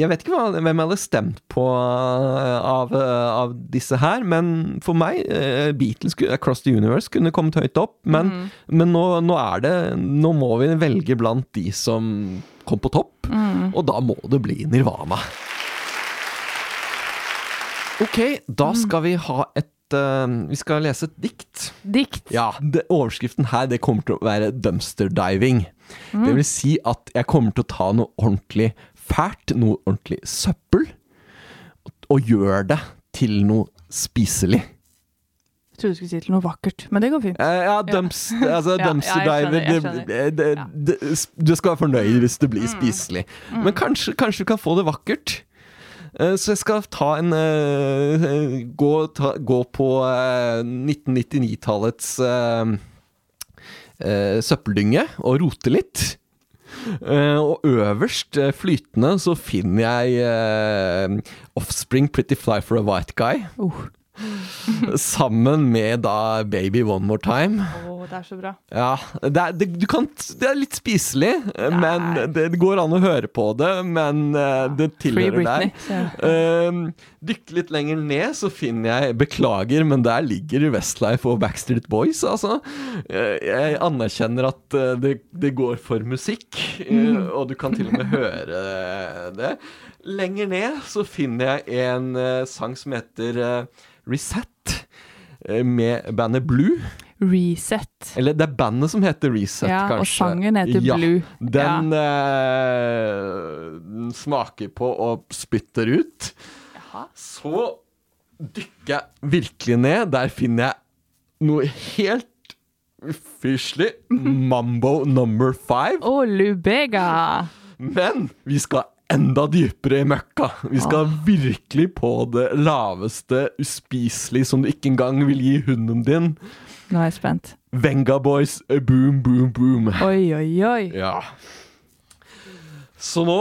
Speaker 1: jeg vet ikke hva, hvem jeg hadde stemt på eh, av, eh, av disse her, men for meg eh, Beatles ku- Across the Universe kunne kommet høyt opp, men, men nå, nå er det Nå må vi velge blant de som kom på topp, og da må det bli Nirvana. Ok, da skal vi ha et eh, Vi skal lese et dikt.
Speaker 4: Dikt.
Speaker 1: Ja, det, overskriften her det kommer til å være dumpster diving. Det vil si at jeg kommer til å ta noe ordentlig fælt, noe ordentlig søppel, og gjøre det til noe spiselig.
Speaker 4: Jeg trodde du skulle si til noe vakkert, men det går fint.
Speaker 1: Eh, ja, dumps, altså,
Speaker 4: Ja,
Speaker 1: dumpster
Speaker 4: ja, jeg skjønner, Mm. jeg
Speaker 1: diver det, det, det, Du skal være fornøyd hvis det blir spiselig. Men kanskje, kanskje du kan få det vakkert. Eh, Så jeg skal ta en eh, eh, Gå, ta, gå på eh, 1999-tallets eh, eh, søppeldynge og rote litt. Eh, og øverst, eh, flytende, så finner jeg eh, Offspring Pretty Fly for a White Guy.
Speaker 4: Oh.
Speaker 1: Sammen med da Baby One More Time.
Speaker 4: Å, det er så bra.
Speaker 1: Ja, det er, det, du kan, det er litt spiselig, eh, men det, det går an å høre på det, men eh, det
Speaker 4: Free
Speaker 1: tilhører
Speaker 4: Britney.
Speaker 1: deg. Um, Dykke litt lenger ned, så finner jeg Beklager, men der ligger Westlife og Backstreet Boys, altså. Eh, Jeg anerkjenner at eh, det, det går for musikk, eh,
Speaker 4: Mm.
Speaker 1: og du kan til og med høre det. Lenger ned så finner jeg en eh, sang som heter eh, Reset, eh, med bandet Blue.
Speaker 4: Reset.
Speaker 1: Eller det er bandet som heter Reset,
Speaker 4: Ja, og
Speaker 1: kanskje.
Speaker 4: sangen heter Blue.
Speaker 1: Den eh, den smaker på og spytter ut. Så dykker jeg virkelig ned. Der finner jeg noe helt ufyselig. Mambo number five.
Speaker 4: Og Lubega!
Speaker 1: Men vi skal enda dypere i møkka. Vi skal virkelig på det laveste, uspiselig, som du ikke engang vil gi hunden din.
Speaker 4: Nå er jeg spent.
Speaker 1: Venga Boys, boom, boom, boom.
Speaker 4: Oi, oi, oi.
Speaker 1: Ja. Så nå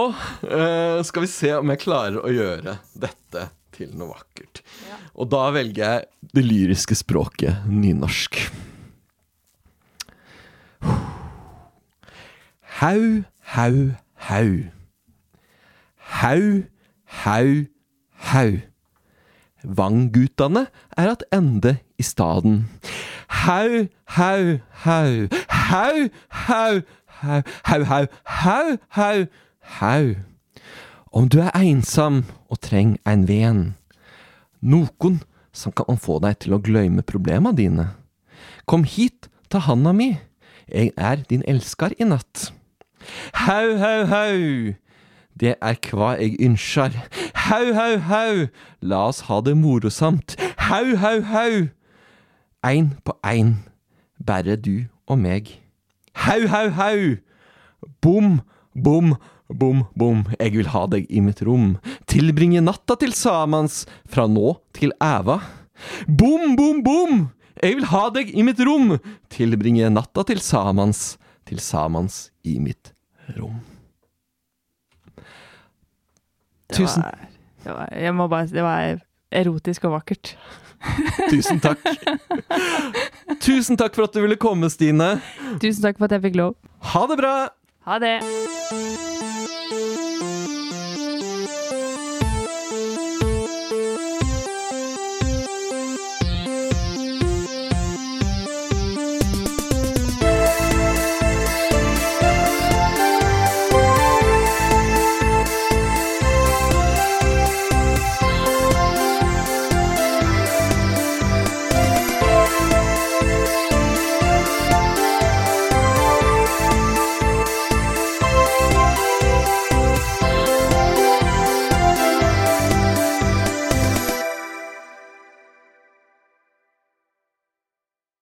Speaker 1: eh, skal vi se om jeg klarer å gjøre dette til noe vakkert. Og da velger jeg det lyriske språket nynorsk. Hau, hau, hau. Hau, hau, hau. Vanggutane er at ende i staden. Hau, hau, hau. Hau, hau, hau. Hau, hau, hau, hau. Hau. Om du er einsam og treng ein ven, nokon som kan få deg til å gløyme problema dine. Kom hit, ta handa mi, eg er din elskar i natt. Hau, hau, hau. Det er hva jeg ønsker. Hau, hau, hau! La oss ha det morosamt. Hau, hau, hau! Ein på ein. Bare du og meg. Hau, hau, hau! Bom, bom, bom, bom. Jeg vil ha deg i mitt rom. Tilbringe natta til samans, fra nå til æva. Bom, bom, bom! Jeg vil ha deg i mitt rom. Tilbringe natta til samans, til samans i mitt rom.
Speaker 4: Det
Speaker 1: Tusen,
Speaker 4: var- Det var, jeg må bare, det var erotisk og vakkert.
Speaker 1: tusen takk. Tusen takk for at du ville komme, Stine.
Speaker 4: Tusen takk for at jeg fikk lov.
Speaker 1: Ha det bra!
Speaker 4: Ha det!